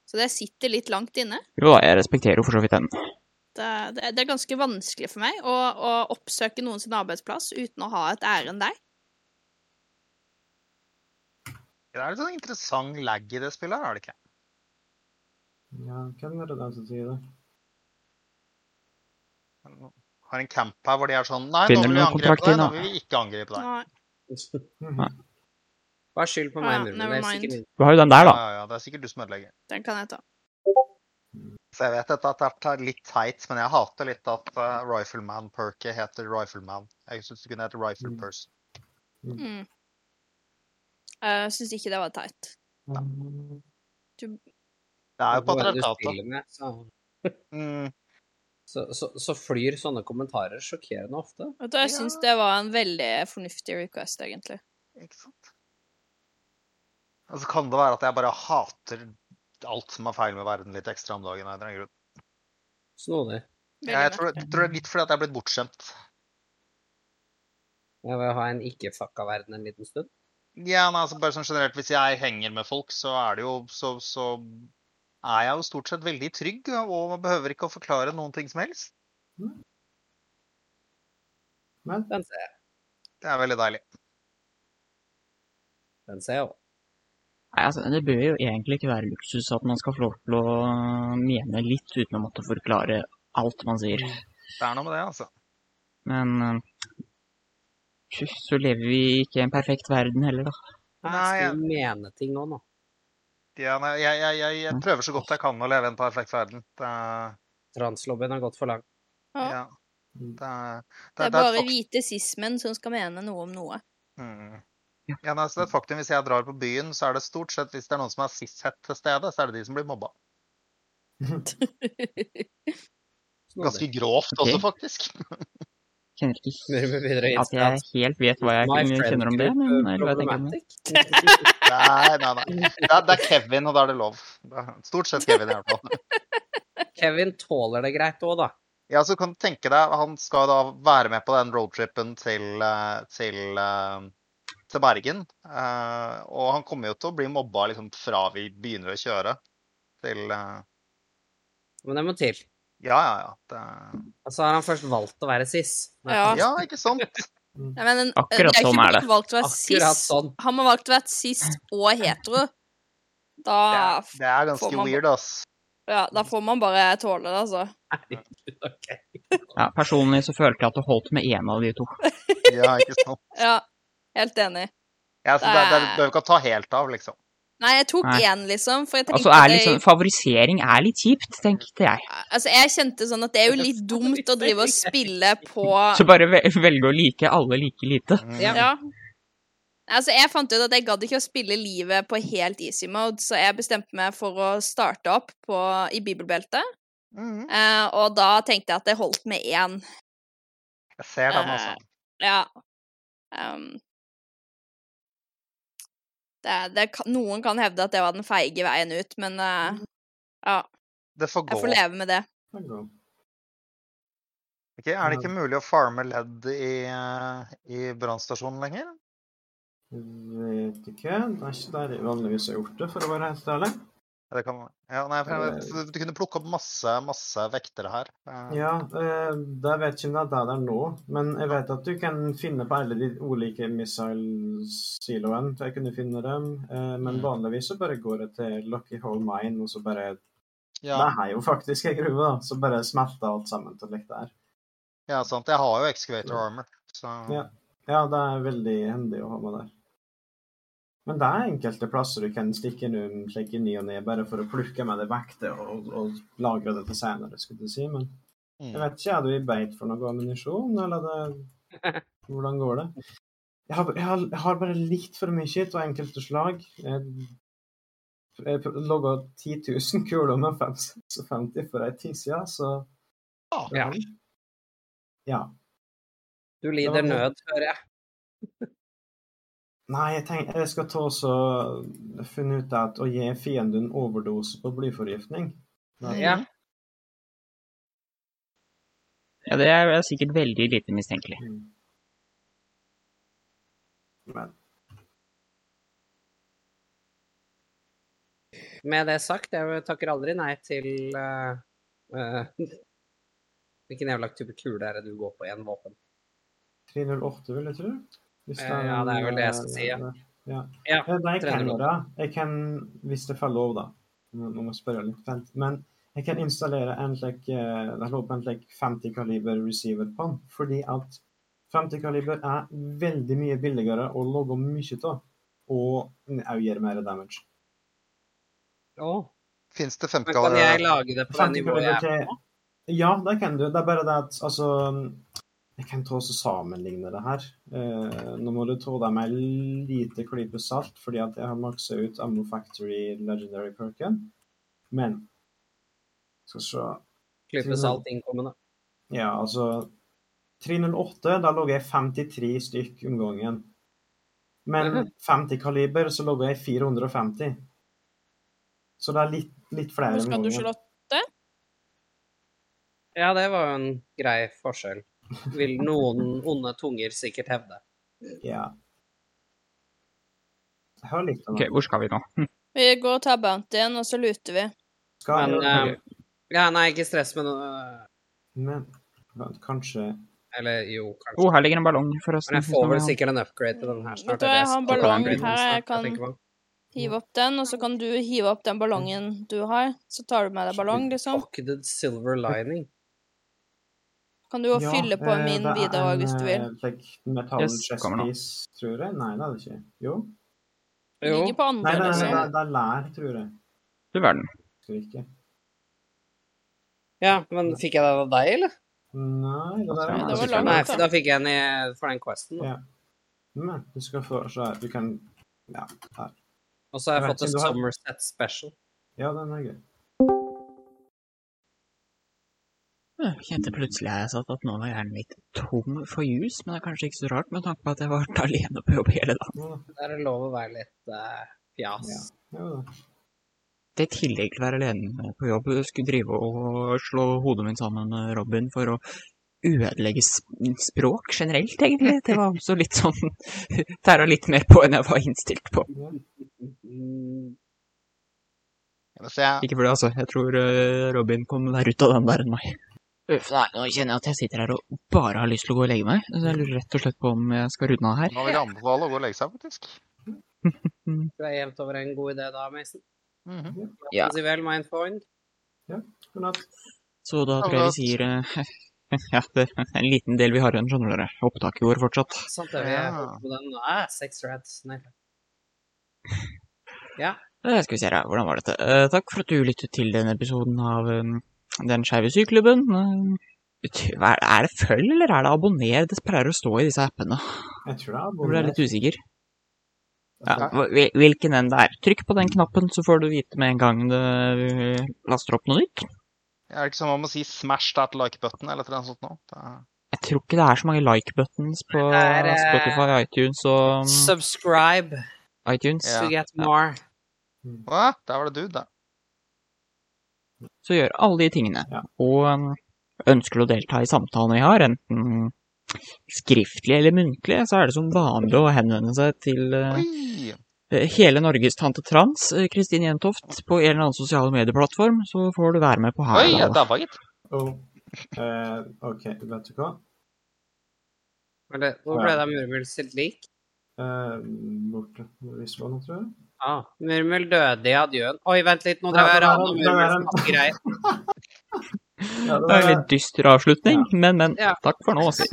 F: Så det sitter litt langt inne.
J: Jo da, jeg respekterer jo for så vidt den.
F: Det, det, er- det er ganske vanskelig for meg å, å oppsøke noen sin arbeidsplass uten å ha et ærend der.
G: Det er litt sånn interessant lag i det spillet, her, er det ikke?
O: Ja, hvem er det den som sier det?
G: Har en camp her hvor de er sånn Nei,
J: Finner du
G: nå vil vi
J: noen kontrakt,
G: angripe deg, nå
J: Ina?
G: vil vi ikke angripe deg.
F: Nei.
C: Bare skyld på
F: Ah,
C: meg, Murmur.
F: never
C: Det er
F: mind.
C: sikkert min.
J: Du har jo den der, da.
G: Ja, ja, ja, det er sikkert du som ødelegger.
F: Den kan jeg ta.
G: Så jeg vet at dette er litt teit, men jeg hater litt at eh, Rifleman-perket heter Rifleman. Jeg syns det kunne hete Rifle Person.
F: Mm. Eh, Jeg syns ikke det var teit.
G: Det er jo på
C: Hva er det du
G: traktatet.
C: spiller med, så-
G: Mm.
C: Så, så, så flyr sånne kommentarer sjokkerende ofte.
F: Vet du, jeg syns det var en veldig fornuftig request, egentlig.
G: Ikke sant? Og så kan det være at jeg bare hater alt som er feil med verden litt ekstra om dagen. av en eller annen grunn.
C: Snodig.
F: Veldig
G: Jeg tror, tror det er litt fordi at jeg er blitt bortskjemt.
C: Jeg vil ha en ikke-fucka verden en liten stund.
G: Ja, nei, altså bare sånn generelt, Hvis jeg henger med folk, så er det jo så, så er jeg jo stort sett veldig trygg og behøver ikke å forklare noen ting som helst.
C: Den ser jeg.
G: Det er veldig deilig.
C: Den ser jeg også.
J: Nei, altså, Det bør jo egentlig ikke være luksus at man skal få lov til å mene litt uten å måtte forklare alt man sier.
G: Det er noe med det, altså.
J: Men eh, tju, så lever vi ikke i en perfekt verden heller, da.
C: Nei,
G: Nei,
C: skal du mene ting nå, nå?
G: Ja, nei, jeg, jeg, jeg, jeg prøver så godt jeg kan å leve i en perfekt verden. Det, er-
C: Translobbyen har gått for langt.
F: Ja.
G: ja. det, er- det er
F: Det er
G: et
F: bare
G: faktum.
F: hvite sismen som skal mene noe om noe.
G: Mm. Ja, nei, så det er et faktum. Hvis jeg drar på byen, så er det stort sett hvis det er noen som er cis-het til stede, så er det de som blir mobba. Ganske
C: Snodig.
G: grovt
J: Ok.
G: også, faktisk.
J: Kjenner ikke
C: Murmur begynner å
J: at jeg
C: innspille.
J: helt vet hva jeg
C: My friend
J: kjenner om det, men
C: group, eh,
J: eller hva jeg tenker om det.
C: problematic.
G: Nei, nei, nei. Det er, det er Kevin, og da er det lov. Det er Stort sett Kevin, i hvert fall.
C: Kevin tåler det greit òg, da.
G: Ja, så kan du tenke deg, han skal da være med på den roadtrippen til, eh, til, eh, til Bergen. Eh, og han kommer jo til å bli mobba liksom fra vi begynner å kjøre til eh,
C: Men det må til.
G: Ja, ja, ja. Det,
C: Altså har han først valgt å være cis. Nei,
F: Ja.
G: ja, ikke sant?
F: Nei, men, en-
J: Akkurat
F: det er
J: sånn
F: ikke
J: er
F: bare
J: det.
F: valgt å være
C: Akkurat
F: cis.
C: sånn.
F: Han har valgt å være cis og hetero.
G: Det
F: Da,
G: er, det er
F: Får
G: ganske
F: man-
G: weird, ass.
F: ja, da får man bare tåle det, altså.
C: Herregud, ok.
J: Ja, Personlig så følte jeg at det holdt med én av de to.
G: Ja, ikke sant?
F: Ja, helt enig.
G: Ja, så det, det, det behøver ikke å ta helt av, liksom.
F: Nei, jeg tok
J: Nei.
F: én, liksom, for jeg tenkte
J: Altså, er
F: at
J: litt
F: jeg-
J: sånn, Favorisering er litt kjipt, tenkte jeg.
F: Altså, jeg kjente sånn at det er jo litt dumt å drive og spille på
J: Så bare ve- velge å like alle like lite.
G: Mm.
C: Ja.
F: Ja. Altså, jeg fant ut at jeg gadd ikke å spille livet på helt easy mode, så jeg bestemte meg for å starte opp på, i bibelbeltet.
L: Mm.
F: Eh, og da tenkte jeg at det holdt med én.
L: Jeg ser den, altså.
F: Ja. Ehm. det, det, kan- noen kan hevde at det var den feige veien ut, men eh, ja,
L: Det får gå.
F: jeg får leve med det.
H: Det går.
L: Ok, er det ikke mulig å farme ledd i, eh, i brannstasjonen lenger?
H: Vet ikke. Det er ikke der jeg vanligvis har gjort det, for å være helt ærlig.
L: Ja, Det kan, ja, nei, for,
H: Eh.
L: for du kunne plukke opp masse, masse vektere her. Eh,
H: Ja, eh, det vet ikke om det er der det er nå, men jeg vet at du kan finne på alle de ulike missilsiloene. Jeg kunne finne dem, eh, men vanligvis så bare går det til Lucky Hole Mine, og så bare
L: Ja,
H: Det er jo faktisk ei gruve, da. Så bare smelter alt sammen til likt der.
L: ja, sant. Jeg har jo excavator armor, så
H: Ja. Ja, det er veldig hendig å ha med der. Men det er enkelte plasser du kan stikke innom slik i ny og ne, bare for å plukke med det vekte og, og lagre det til senere, skulle du si. Men jeg
L: mm.
H: vet ikke, er du i beit for noe ammunisjon, eller det, hvordan går det? Jeg har, jeg, har, jeg har bare litt for mye av enkelte slag. Jeg, jeg pr- logga 10 000 kuler med 550 for ei tid siden, så
C: Ja.
H: Ja.
C: Du
H: Det
C: lider
H: var-
C: nød, hører jeg.
H: Nei, jeg, tenker, jeg skal ta også finne ut at å gi fienden overdose på blyforgiftning Nei.
C: Ja.
J: Ja, det er sikkert veldig lite mistenkelig.
H: Men
C: Med det sagt, jeg takker aldri nei til eh, eh, Hvilken jævla type kule er det du går på i en våpen?
H: 308, vil jeg tro. Hvis
C: Eh, ja, det er vel det jeg skal si, ja.
H: ja.
C: Ja,
H: Eh, Nei, jeg kan
C: 308.
H: gjøre Jeg kan, hvis det faller over, da. Nå nå må jeg spørre litt vent. Men jeg kan installere en slik eh, jeg håper en slik 50 kaliber receiver på den, fordi at 50 kaliber er veldig mye billigere å logge mye av, og òg gjør mer damage.
C: Åh,
L: Fins det 50
C: Men kan jeg
L: kaliber?
C: lage det på det
H: 50
C: nivået
H: kaliber
C: jeg er
H: til
C: på?
H: Ja, det kan du. Det er bare det at altså Jeg kan ta også sammenligne det her. Eh, nå må du ta deg med en lite klype salt, fordi at jeg har maksa ut Ammo Factory Legendary Perken. Men Skal se
C: Klype salt innkommende.
H: Ja, altså 308, da lå jeg 53 stykk om gangen. Men
C: Mhm.
H: 50 kaliber, så lå jeg 450. Så det er litt, litt flere
F: Husker
H: om
F: du
H: gangen.
F: Charlotte?
C: Ja, det var jo en grei forskjell. Vil noen onde tunger sikkert hevde.
H: Ja. Hør litt av
J: Ok,
H: det.
J: hvor skal vi nå?
F: Vi går og tar bountyen, og så luter vi.
H: Skal
C: Men
H: jeg,
C: eh, Ja, nei, ikke stress med noe
H: Men vent, kanskje
C: Eller jo, kanskje.
J: Å, her ligger en ballong, forresten.
C: Men jeg får vel sikkert en upgrade til den her
F: Vet
C: snart.
F: du hva, jeg har en
C: eller
J: ballong
C: upgrade
F: her,
C: snart,
F: jeg kan-
C: tenker på.
F: Hiv opp den, og så kan du hive opp den ballongen du har. Så tar du med deg ballong, liksom.
C: Pocketed silver lining.
F: Kan du jo fylle på
H: eh,
F: min videre òg, hvis du
H: Det
F: vil.
H: er en eh, like, metall
J: Yes, kommer nå.
H: chestpiece, tror jeg. Nei, det er det ikke. Jo.
F: Den
C: Jo.
F: ligger på
H: Nei,
F: andre,
H: det er, det
F: liksom.
H: er, det er lær, tror jeg.
J: Du verden.
H: Husker ikke.
C: Ja, men fikk jeg det av deg, eller?
H: Nei, det der
J: Ja,
H: er
J: det
H: masse
J: var
H: kjøtt.
C: Nei,
F: langt,
C: for da fikk jeg den i, for den questen. Da.
H: Ja. Men du skal få se her. Du kan Ja, her.
C: Og så har jeg
H: Jeg vet
C: fått en
H: ikke, du har-
C: Somerset special.
H: Ja, den er gøy.
J: Jeg kjente plutselig jeg satt at nå var hjernen mitt tom for jus, men det er kanskje ikke så rart med tanke på at jeg har vært alene på jobb hele dagen.
H: Jo da.
C: Det er lov å være litt eh, fjas.
H: Ja. Jo da.
J: Det i tillegg til å være alene på jobb, skulle drive og slå hodet mitt sammen med Robin for å ødelegge sp- språk generelt, egentlig. Det var også litt sånn Tæra litt mer på enn jeg var innstilt på.
H: Ja.
C: Mm,
L: Så jeg,
J: Ikke for det, altså. Jeg tror eh, Robin kom verre ut av den der enn meg. Uff, nei, nå kjenner jeg at jeg sitter her og bare har lyst til å gå og legge meg. Så jeg lurer rett og slett på om jeg skal runde av her.
L: nå vil jeg anbefale å gå og legge seg, faktisk.
C: Du er jevnt over en god idé da, Mason.
L: Mhm.
J: Ja.
C: Si vel, mindphone.
H: God natt.
J: Så da tror jeg vi sier eh, Ja, det er en liten del vi har igjen, skjønner dere. Opptaket går fortsatt.
C: Sant det, vi
L: Ja.
C: holdt på den. Ah, sex rats. Nei. Ja.
J: Eh, Skal vi se her, ja, hvordan var dette? Eh, takk for at du lyttet til denne episoden av eh, Den skeive syklubben. Eh, ty- hva er- er det følg, eller er det abonner? Det pleier å stå i disse appene.
H: Jeg tror det
J: Jeg
H: er
J: ble litt usikker. Ja, hvil- hvilken enn det er. Trykk på den knappen, så får du vite med en gang det eh, laster opp noe nytt.
L: Er det ikke sånn man må si 'smash that like button' eller noe sånt nå? Det er-
J: Jeg tror ikke det er så mange like-buttons på
C: Det er, eh,
J: Spotify, iTunes
H: Um,
J: og um,
C: Subscribe
J: iTunes.
C: to get more.
L: Hva? Der var det du, da.
J: Så gjør alle de tingene. Og um, ønsker du å delta i samtalene vi har, enten skriftlig eller muntlig, så er det som vanlig å henvende seg til eh, eh, hele Norges Tante Trans, eh, Kristin Jentoft, på en eller annen sosiale medieplattform, så får du være med på her. da.
L: gitt.
H: eh, OK, vet du hva?
C: Var det- Hvor ble det av Murmel sitt lik?
H: Eh, borte på Risvollen, tror jeg.
C: Ah, Murmel døde i adjøen. Oi, vent litt, nå
H: Ja,
C: drev jeg
H: det
C: og
H: var-
C: rana
H: det var
C: Murmels
H: en-
C: masse greier.
H: Ja,
J: Det er en litt dyster avslutning, men, men.
C: Ja.
J: Takk for nå, si.